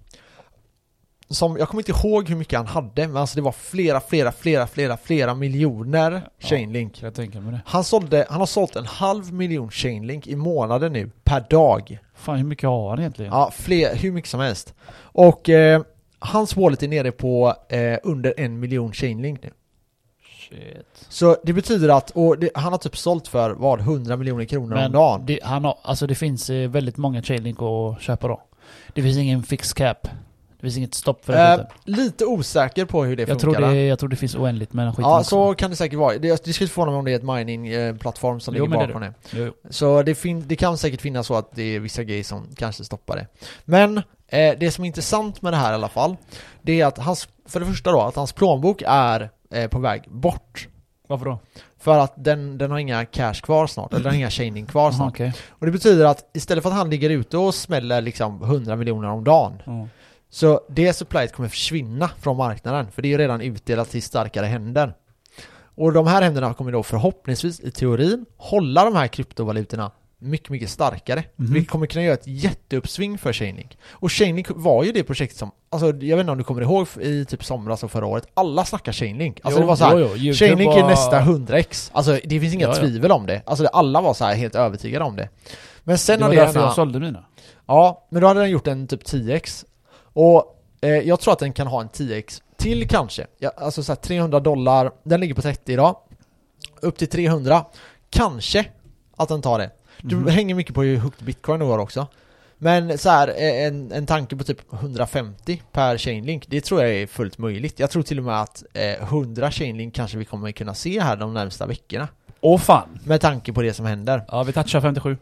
Speaker 1: Som, jag kommer inte ihåg hur mycket han hade, men alltså det var flera, flera, flera, flera, flera miljoner
Speaker 2: Ja.
Speaker 1: Chainlink.
Speaker 2: Jag tänker mig det.
Speaker 1: Han, sålde, han har sålt en halv miljon Chainlink i månaden nu, per dag.
Speaker 2: Fan hur mycket har han egentligen?
Speaker 1: Ja, fler, hur mycket som helst. Och eh, hans wallet är nere på eh, under en miljon chainlink nu.
Speaker 2: Shit.
Speaker 1: Så det betyder att, och det, han har typ sålt för vad, 100 miljoner kronor om dagen.
Speaker 2: det, han har, alltså det finns eh, väldigt många chainlink att köpa då. Det finns ingen fix cap. Det finns inget stopp för
Speaker 1: Eh,
Speaker 2: det.
Speaker 1: lite osäker på hur det
Speaker 2: jag,
Speaker 1: funkar.
Speaker 2: tror det jag tror det finns oändligt mellan skiten
Speaker 1: ja,
Speaker 2: också.
Speaker 1: så kan det säkert vara. Det, jag- det skulle inte förvåna mig om det är ett mining-plattform som
Speaker 2: Jo,
Speaker 1: ligger
Speaker 2: men det är
Speaker 1: bakom det.
Speaker 2: Jo, jo.
Speaker 1: Så det, fin- det kan säkert finnas så att det är vissa grejer som kanske stoppar det. Men eh, det som är intressant med det här i alla fall, det är att hans, för det första då, att hans plånbok är eh, på väg bort.
Speaker 2: Varför då?
Speaker 1: För att den, den har inga cash kvar snart, eller den har inga chaining kvar
Speaker 2: Jaha,
Speaker 1: snart.
Speaker 2: okej.
Speaker 1: Och det betyder att istället för att han ligger ute och smäller liksom 100 miljoner om dagen, så det supplyet kommer försvinna från marknaden, för det är ju redan utdelat till starkare händer. Och de här händerna kommer då förhoppningsvis i teorin hålla de här kryptovalutorna mycket, mycket starkare.
Speaker 2: Mhm.
Speaker 1: Vilket kommer kunna göra ett jätteuppsving för Chainlink. Och Chainlink var ju det projekt som, alltså jag vet inte om du kommer ihåg i typ somras och förra året, alla snackar Chainlink. Alltså
Speaker 2: Jo,
Speaker 1: det var så här,
Speaker 2: jo, jo, YouTube
Speaker 1: Chainlink är
Speaker 2: var-
Speaker 1: nästa 100x. Alltså det finns inga
Speaker 2: Ja, ja.
Speaker 1: tvivel om det. Alltså det- alla var så här helt övertygade om det. Men sen
Speaker 2: Det
Speaker 1: har
Speaker 2: var
Speaker 1: det
Speaker 2: därför
Speaker 1: ena-
Speaker 2: jag sålde mina.
Speaker 1: Ja, men då hade den gjort en typ 10x. Och eh, jag tror att den kan ha en 10x till kanske. Ja, alltså så här 300 dollar, den ligger på 30 idag. Upp till 300. Kanske att den tar det. Det
Speaker 2: Mhm.
Speaker 1: hänger mycket på hur högt bitcoin går också. Men så här, eh, en, en tanke på typ 150 per chainlink, det tror jag är fullt möjligt. Jag tror till och med att eh, 100 chainlink kanske vi kommer kunna se här de närmsta veckorna.
Speaker 2: Åh fan!
Speaker 1: Med tanke på det som händer.
Speaker 2: Ja, vi touchar 57.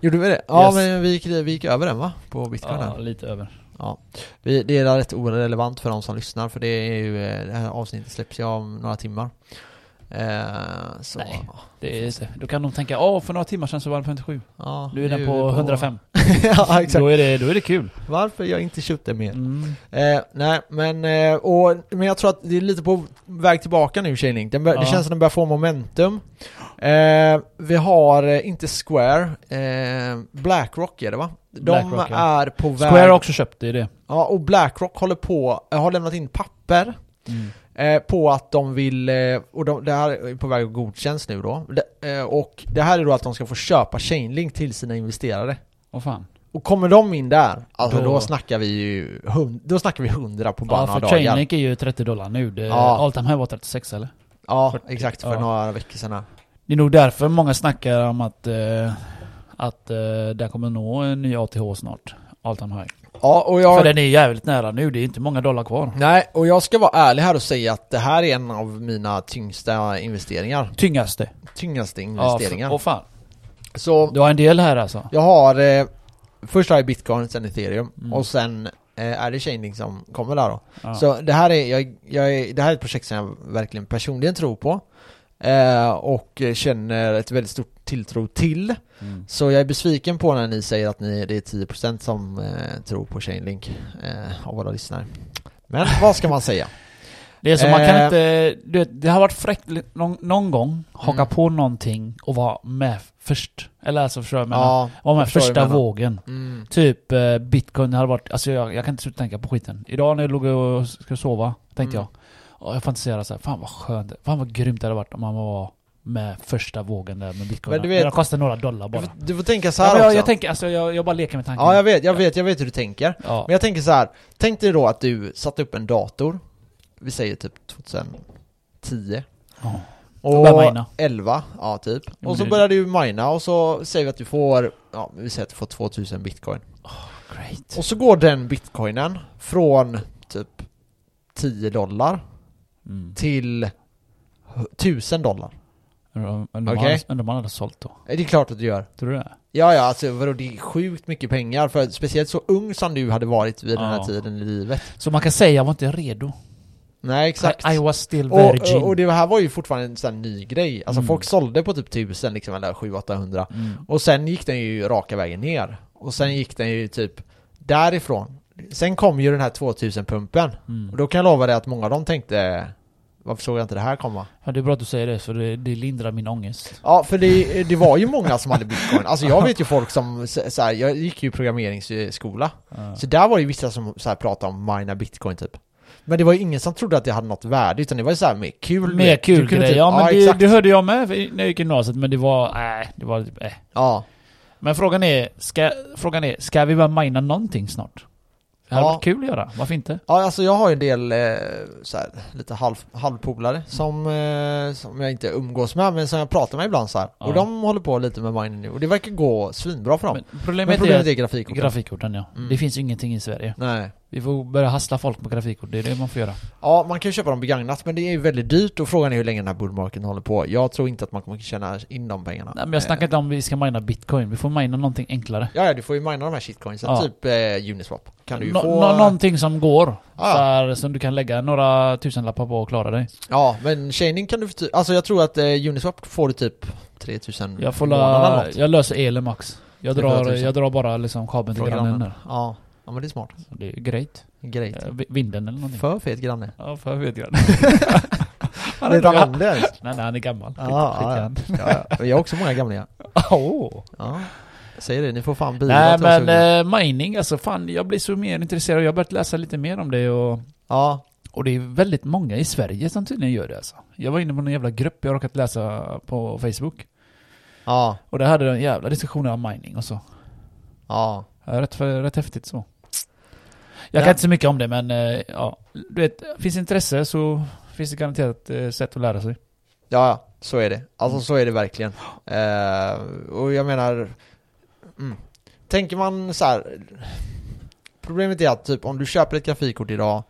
Speaker 1: Gjorde vi det? Ja,
Speaker 2: Yes.
Speaker 1: men vi gick, vi gick över den va? På bitcoin här.
Speaker 2: Ja, lite över.
Speaker 1: Vi, det är rätt orelevant för de som lyssnar för det är ju, eh, det här avsnittet släpps ju om några timmar. Eh, så,
Speaker 2: Nej. Det är, då kan de tänka, åh för några timmar sedan så var den 57.
Speaker 1: Ja,
Speaker 2: Nu är den
Speaker 1: vi
Speaker 2: på 105.
Speaker 1: ja, exakt.
Speaker 2: Då är det, då är det kul.
Speaker 1: Varför jag inte köpte mer?
Speaker 2: Mm.
Speaker 1: Eh, nej, men, eh, och, men jag tror att det är lite på väg tillbaka nu Chainlink. Den bör,
Speaker 2: Ja.
Speaker 1: Det känns som den börjar få momentum. Eh, vi har, eh, inte Square, eh, Blackrock är det va? De
Speaker 2: BlackRock, ja.
Speaker 1: är på väg...
Speaker 2: Square har också köpt det, är det.
Speaker 1: Ja, och Blackrock håller på, eh, har lämnat in papper Eh, på att de vill, eh, och de, det här är på väg att godkänns nu då. De, eh, och det här är då att de ska få köpa Chainlink till sina investerare.
Speaker 2: Åh fan.
Speaker 1: Och kommer de in där, alltså
Speaker 2: Då-
Speaker 1: då, snackar vi ju hund, då snackar vi hundra på bara
Speaker 2: Ja,
Speaker 1: några
Speaker 2: för
Speaker 1: dagar.
Speaker 2: Chainlink är ju 30 dollar nu. Det,
Speaker 1: Ja.
Speaker 2: All time här var 36 eller?
Speaker 1: ja,
Speaker 2: 40,
Speaker 1: exakt, för
Speaker 2: ja.
Speaker 1: några veckor sedan. här.
Speaker 2: Det är nog därför många snackar om att, eh, att eh, där kommer nå en ny ATH snart. All time high.
Speaker 1: Ja, och
Speaker 2: För
Speaker 1: jag,
Speaker 2: den är jävligt nära nu, det är inte många dollar kvar.
Speaker 1: nej, och jag ska vara ärlig här och säga att det här är en av mina tyngsta investeringar.
Speaker 2: Tyngaste.
Speaker 1: Tyngsta
Speaker 2: Ja,
Speaker 1: investeringar.
Speaker 2: för- åh fan.
Speaker 1: Så
Speaker 2: Du har en del här alltså?
Speaker 1: jag har, eh, först har jag bitcoin, sen ethereum,
Speaker 2: Mm.
Speaker 1: och sen eh, är det Chainlink som kommer där då.
Speaker 2: Ja.
Speaker 1: Så det här, är, jag, jag är, det här är ett projekt som jag verkligen personligen tror på eh, och känner ett väldigt stort tilltro till.
Speaker 2: Mm.
Speaker 1: Så jag är besviken på när ni säger att ni, det är 10% som eh, tror på Chainlink eh, av våra lyssnare. Men vad ska man säga?
Speaker 2: Det är som man kan
Speaker 1: Eh.
Speaker 2: inte, du vet, det har varit fräckt li- någon, någon gång, haka
Speaker 1: Mm.
Speaker 2: på någonting och vara med först. Eller alltså förstår jag vad jag menar?
Speaker 1: Ja,
Speaker 2: Vara med
Speaker 1: förstår vad du
Speaker 2: första
Speaker 1: menar.
Speaker 2: vågen.
Speaker 1: mm,
Speaker 2: Typ eh, bitcoin hade varit, alltså jag, jag kan inte sluta tänka på skiten. Idag när jag låg och skulle sova, tänkte
Speaker 1: Mm.
Speaker 2: jag. Och jag fantiserade så här, fan vad skönt, fan vad grymt det hade varit om man var med första vågen där med bitcoin.
Speaker 1: Men
Speaker 2: Men
Speaker 1: du vet-
Speaker 2: det kostar några dollar
Speaker 1: du,
Speaker 2: bara.
Speaker 1: får, du får tänka så
Speaker 2: Ja,
Speaker 1: här
Speaker 2: men jag,
Speaker 1: också.
Speaker 2: jag tänker, alltså jag, jag bara leker med tanken.
Speaker 1: ja, jag vet, jag vet, jag vet hur du tänker.
Speaker 2: Ja.
Speaker 1: Men jag tänker så här, tänk dig då att du satte upp en dator, vi säger typ 2010.
Speaker 2: Ja.
Speaker 1: Och
Speaker 2: börjar mina.
Speaker 1: 11, ja typ.
Speaker 2: men
Speaker 1: och så
Speaker 2: det-
Speaker 1: börjar du mina och så säger vi att du får, ja vi säger att du får 2000 bitcoin.
Speaker 2: Typ. Great.
Speaker 1: Och så går den bitcoinen från typ 10 dollar
Speaker 2: Mm.
Speaker 1: till hu- 1000 dollar.
Speaker 2: Undrar om- undrar om
Speaker 1: Okej.
Speaker 2: han- undrar om han hade sålt då?
Speaker 1: Eh, Det är klart att du gör.
Speaker 2: Tror du det?
Speaker 1: Ja, ja, alltså vadå, det är sjukt mycket pengar för speciellt så ung som du hade varit vid den
Speaker 2: Ja.
Speaker 1: här tiden i livet.
Speaker 2: Så man kan säga jag var inte redo.
Speaker 1: Nej, exakt.
Speaker 2: I, I was still virgin.
Speaker 1: och, och det här var ju fortfarande en sån här ny grej. Alltså
Speaker 2: Mm.
Speaker 1: folk sålde på typ 1000 liksom, eller 700-800.
Speaker 2: mm.
Speaker 1: Och sen gick den ju raka vägen ner. Och sen gick den ju typ därifrån. Sen kom ju den här 2000-pumpen.
Speaker 2: Mm.
Speaker 1: Och då kan jag lova dig att många av dem tänkte varför såg jag inte det här komma?
Speaker 2: Ja, det är bra att du säger det, för det, det lindrar min ångest.
Speaker 1: Ja, för det, det var ju många som hade bitcoin. Alltså jag vet ju folk som, så så här, jag gick ju programmeringsskola.
Speaker 2: Ja.
Speaker 1: Så där var det ju vissa som så här, pratade om mina bitcoin typ. Men det var ju ingen som trodde att det hade något värde, utan det var ju så här mer kul.
Speaker 2: Mer
Speaker 1: Du
Speaker 2: kul
Speaker 1: kunde
Speaker 2: grej.
Speaker 1: typ-
Speaker 2: Ja, men det,
Speaker 1: exakt.
Speaker 2: det hörde jag med när jag gick i gymnasiet, men det var... Äh, det var typ, äh.
Speaker 1: Ja.
Speaker 2: Men frågan är, ska, frågan är, ska vi börja mina någonting snart? Det hade
Speaker 1: Ja.
Speaker 2: varit kul att göra, varför inte?
Speaker 1: Ja, alltså jag har ju en del eh, så här, lite halv, halvpolare som, eh, som jag inte umgås med, men som jag pratar med ibland så här.
Speaker 2: Ja.
Speaker 1: Och de håller på lite med Mine nu, och det verkar gå svinbra för dem.
Speaker 2: Men
Speaker 1: Men,
Speaker 2: problemet,
Speaker 1: problemet
Speaker 2: är,
Speaker 1: är grafiken.
Speaker 2: grafikkorten ja.
Speaker 1: Mm.
Speaker 2: Det finns ju ingenting i Sverige.
Speaker 1: Nej.
Speaker 2: Vi får börja hassla folk på grafikkort, det är det man får göra.
Speaker 1: Ja, man kan ju köpa dem begagnat, men det är ju väldigt dyrt och frågan är hur länge den här bullmarken håller på. Jag tror inte att man kommer tjäna in de pengarna.
Speaker 2: Nej men jag snackar inte om vi ska mina bitcoin, vi får mina någonting enklare.
Speaker 1: Eh, Ja, ja, du får ju mina de här shitcoinsen,
Speaker 2: Ja.
Speaker 1: typ eh, Uniswap. Kan du ju
Speaker 2: Nå-
Speaker 1: få...
Speaker 2: nå- någonting som går,
Speaker 1: Ja.
Speaker 2: så här, som du kan lägga några tusenlappar på och klara dig.
Speaker 1: Ja, men chaining kan du få ty- Alltså jag tror att eh, Uniswap får du typ 3000
Speaker 2: Jag, får
Speaker 1: i månaden eller
Speaker 2: la,
Speaker 1: något.
Speaker 2: jag löser elen max. Jag
Speaker 1: Det är
Speaker 2: drar,
Speaker 1: 4000.
Speaker 2: jag drar bara liksom kabeln till
Speaker 1: Från
Speaker 2: grannen
Speaker 1: grannen.
Speaker 2: där.
Speaker 1: Ja. ja, men det är smart.
Speaker 2: Så Det är grejt.
Speaker 1: Grejt.
Speaker 2: Eh, vi- Vinden eller någonting.
Speaker 1: För fet granne.
Speaker 2: Ja, för vet jag.
Speaker 1: Han är
Speaker 2: gammal.
Speaker 1: gammal ens.
Speaker 2: Nej, nej, han är gammal. Skit,
Speaker 1: Ja,
Speaker 2: skit i
Speaker 1: ja.
Speaker 2: han.
Speaker 1: Ja, ja. Jag har också många gamlingar.
Speaker 2: Åh.
Speaker 1: Ja. Jag säger det, ni får fan bidra
Speaker 2: Nej
Speaker 1: till oss
Speaker 2: men
Speaker 1: unga.
Speaker 2: eh, mining alltså, fan jag blir så mer intresserad. Jag har börjat läsa lite mer om det och,
Speaker 1: Ja,
Speaker 2: och det är väldigt många i Sverige som tydligen gör det alltså. Jag var inne på någon jävla grupp jag råkat läsa på Facebook.
Speaker 1: ja,
Speaker 2: Och där hade de en jävla diskussioner om mining och så.
Speaker 1: ja.
Speaker 2: Ja, Rätt, för, rätt häftigt så.
Speaker 1: Ja.
Speaker 2: Jag kan inte så mycket om det men eh, ja, du vet, finns intresse så finns det garanterat eh, sätt att lära sig.
Speaker 1: Ja, ja, så är det.
Speaker 2: Mm.
Speaker 1: Alltså så är det verkligen. Eh, och jag menar, mm. tänker man så här. Problemet är att typ om du köper ett grafikkort idag.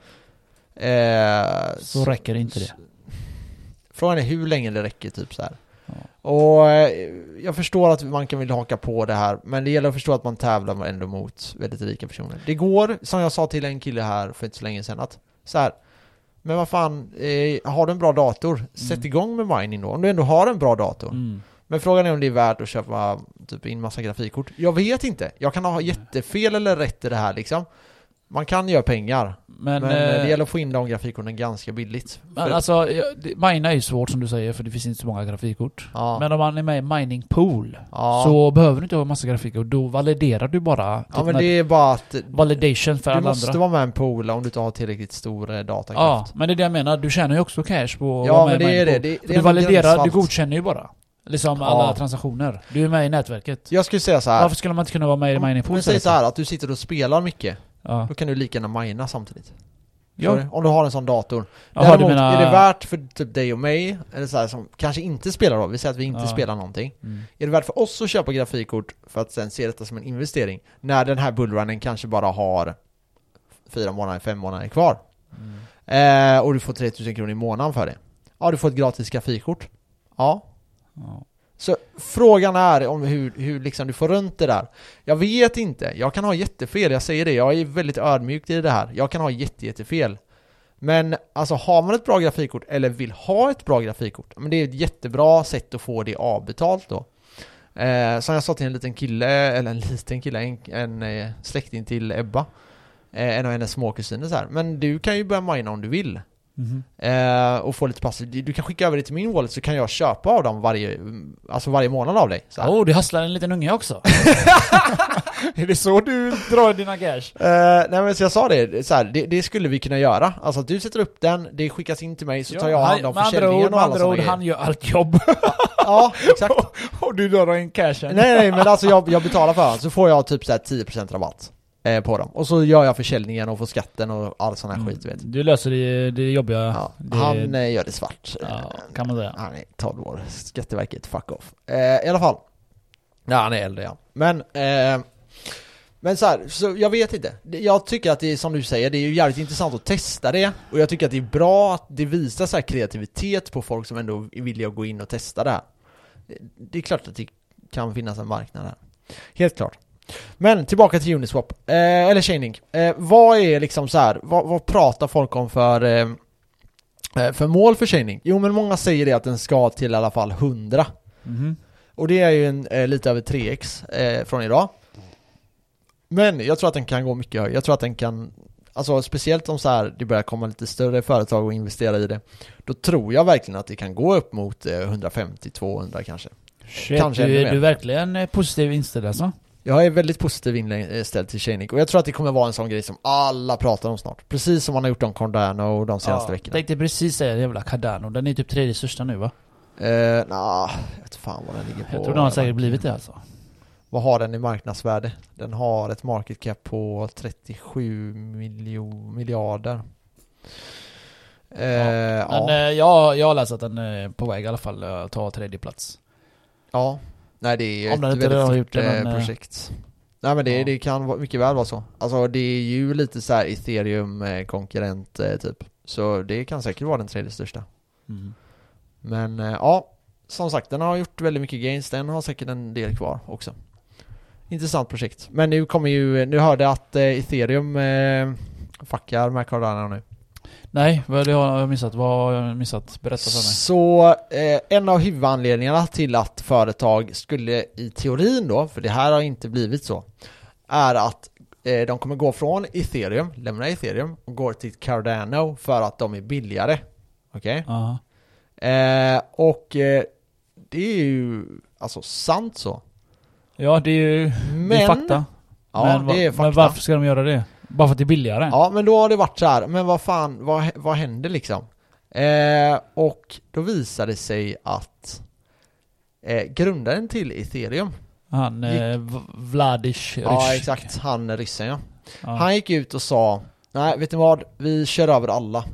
Speaker 1: Eh,
Speaker 2: Så räcker det inte det.
Speaker 1: Frågan är hur länge det räcker typ så här.
Speaker 2: Ja.
Speaker 1: Och eh, jag förstår att man kan vilja haka på det här, men det gäller att förstå att man tävlar ändå mot väldigt rika personer. Det går, som jag sa till en kille här för inte så länge sedan, att så här. Men vad fan, eh, har du en bra dator, sätt
Speaker 2: Mm.
Speaker 1: igång med mining då, om du ändå har en bra dator.
Speaker 2: Mm.
Speaker 1: Men frågan är om det är värt att köpa typ in massa grafikkort. Jag vet inte, jag kan ha jättefel eller rätt i det här liksom. Man kan göra pengar,
Speaker 2: Men,
Speaker 1: men, eh, det
Speaker 2: eh,
Speaker 1: gäller att få in de grafikkorten ganska billigt.
Speaker 2: men alltså, ja, det- mina är ju svårt som du säger för det finns inte så många grafikkort.
Speaker 1: ja,
Speaker 2: Men om man är med i mining pool
Speaker 1: ja.
Speaker 2: så behöver du inte ha massa grafik och då validerar du bara typ
Speaker 1: Ja men
Speaker 2: med
Speaker 1: det är bara att du
Speaker 2: validation för alla
Speaker 1: måste
Speaker 2: andra.
Speaker 1: vara med i en pool om du inte har tillräckligt stor eh,
Speaker 2: Ja,
Speaker 1: datakraft.
Speaker 2: men det är det jag menar. Du tjänar ju också cash på
Speaker 1: Ja,
Speaker 2: att vara med
Speaker 1: men
Speaker 2: i
Speaker 1: det är
Speaker 2: mining
Speaker 1: det.
Speaker 2: pool.
Speaker 1: det, det
Speaker 2: För
Speaker 1: är
Speaker 2: du
Speaker 1: en
Speaker 2: validerar, du
Speaker 1: gränsfall.
Speaker 2: godkänner ju bara. Liksom
Speaker 1: Ja.
Speaker 2: alla transaktioner. Du är med i nätverket.
Speaker 1: Jag skulle säga så här.
Speaker 2: Varför skulle man inte kunna vara med i
Speaker 1: Om-
Speaker 2: mining
Speaker 1: om
Speaker 2: pool?
Speaker 1: vi säger
Speaker 2: istället?
Speaker 1: så här att du sitter och spelar mycket,
Speaker 2: Ja.
Speaker 1: då kan du lika gärna mina samtidigt. Förstår
Speaker 2: Ja.
Speaker 1: du? Om du har en sån dator.
Speaker 2: Jaha, du
Speaker 1: Däremot,
Speaker 2: menar...
Speaker 1: är det värt för typ dig och mig, eller så här, som kanske inte spelar då, vi säger att vi inte
Speaker 2: Ja.
Speaker 1: spelar någonting.
Speaker 2: Mm.
Speaker 1: Är det värt för oss att köpa grafikkort för att sen se detta som en investering? När den här bullrunnen kanske bara har fyra månader, fem månader kvar.
Speaker 2: Mm.
Speaker 1: Eh, och du får 3000 kronor i månaden för det. Ja, du får ett gratis grafikkort. Ja.
Speaker 2: Ja.
Speaker 1: Så frågan är om hur, hur liksom du får runt det där. Jag vet inte. Jag kan ha jättefel, jag säger det. Jag är väldigt ödmjuk i det här. Jag kan ha jätte, jättefel. Men alltså har man ett bra grafikkort eller vill ha ett bra grafikkort, men det är ett jättebra sätt att få det avbetalt då. Eh, som jag sa till en liten kille, eller en liten kille, en, en eh, släkting till Ebba. Eh, en av hennes småkusiner så här. Men du kan ju börja mina om du vill.
Speaker 2: Mhm.
Speaker 1: Eh, och få lite passiv. Du kan skicka över det till min wallet så kan jag köpa av dem varje, alltså varje månad av dig. Så här.
Speaker 2: Oh, du hasslar en liten unge också. är det så du drar dina cash?
Speaker 1: Eh, nej men så jag sa det, så här, det, det skulle vi kunna göra. Alltså att du sätter upp den, det skickas in till mig Typ, så tar jag hand om
Speaker 2: med andra ord,
Speaker 1: försäljningen och
Speaker 2: med
Speaker 1: alla
Speaker 2: andra
Speaker 1: sådana
Speaker 2: ord,
Speaker 1: grejer.
Speaker 2: han gör allt jobb.
Speaker 1: Ja, exakt.
Speaker 2: och du drar in cashen.
Speaker 1: nej nej men alltså jag, jag betalar för den så får jag typ så här 10% rabatt eh, på dem. Och så gör jag försäljningen och får skatten och all sån här skit du vet.
Speaker 2: Du löser det, det jobbiga.
Speaker 1: Ja,
Speaker 2: Mm. Ah, det,
Speaker 1: han eh, gör det svart.
Speaker 2: ja, kan man säga.
Speaker 1: Han är 12 år, Skatteverket, fuck off. Eh, I alla fall. Nej, han är äldre ja. Men, eh, men så här, så jag vet inte. Det- Jag tycker att det är som du säger, det är ju jävligt intressant att testa det. Och jag tycker att det är bra att det visar så här kreativitet på folk som ändå är villiga att gå in och testa det här. Det är klart att det kan finnas en marknad här. Helt klart. Men tillbaka till Uniswap, eh, eller Chainlink. Eh, vad är liksom så här, vad, vad pratar folk om för eh, Eh, För mål för Chainlink? Jo men många säger det att den ska till i alla fall 100
Speaker 2: Mhm.
Speaker 1: Och det är ju en, eh, lite över 3x eh, från idag Men jag tror att den kan gå mycket högre, jag tror att den kan Alltså speciellt om så här, det börjar komma lite större företag och investera i det Då tror jag verkligen att det kan gå upp mot eh, 150-200 kanske
Speaker 2: Shit,
Speaker 1: Kanske
Speaker 2: du,
Speaker 1: ännu
Speaker 2: är
Speaker 1: mer.
Speaker 2: du verkligen eh, positiv inställd alltså?
Speaker 1: Jag är väldigt positiv inställd till Chainlink och jag tror att det kommer vara en sån grej som alla pratar om snart Precis som man har gjort om Cardano de senaste veckorna
Speaker 2: Tänkte precis säga det jävla Cardano, den är typ tredje största nu va?
Speaker 1: eh, Nja, jag vet fan vad den ligger på
Speaker 2: Jag tror den har säkert blivit det alltså.
Speaker 1: Vad har den i marknadsvärde? Den har ett market cap på 37 miljo- miljarder. Eh, ja.
Speaker 2: Men eh, jag, jag har läst att den är på väg i alla fall att ta tredje plats.
Speaker 1: Ja, nej det är ju
Speaker 2: Om
Speaker 1: ett
Speaker 2: den inte
Speaker 1: väldigt
Speaker 2: redan har
Speaker 1: stort
Speaker 2: gjort det,
Speaker 1: eh,
Speaker 2: men, eh,
Speaker 1: projekt. Nej men det,
Speaker 2: ja.
Speaker 1: det kan vara- mycket väl vara så. Alltså det är ju lite så här ethereum-konkurrent eh, typ. Så det kan säkert vara den tredje största.
Speaker 2: Mm.
Speaker 1: Men eh, ja, som sagt den har gjort väldigt mycket gains. Den har säkert en del kvar också. Intressant projekt. Men nu kommer ju, nu hörde jag att eh, ethereum eh, fuckar med Cardano nu.
Speaker 2: Nej, vad det har jag missat? Vad har jag missat? Berätta för mig.
Speaker 1: Så eh, en av huvudanledningarna till att företag skulle i teorin då, för det här har inte blivit så, är att eh, de kommer gå från ethereum, lämna ethereum och går till Cardano för att de är billigare. Okej?
Speaker 2: Aha.
Speaker 1: Eh, och eh, det är ju alltså sant så.
Speaker 2: Ja, det är ju
Speaker 1: Men,
Speaker 2: det är fakta.
Speaker 1: Ja,
Speaker 2: va-
Speaker 1: det är fakta.
Speaker 2: men varför ska de göra det? Bara för att det är billigare?
Speaker 1: Ja, men då har det varit så här. Men vad fan, vad, hä- vad hände liksom? Eh, och då visade det sig att eh, grundaren till ethereum,
Speaker 2: Han, eh, V- Vladish Rysch.
Speaker 1: ja exakt, han är ryssen ja.
Speaker 2: Ja.
Speaker 1: Han gick ut och sa, nej vet ni vad, vi kör över alla.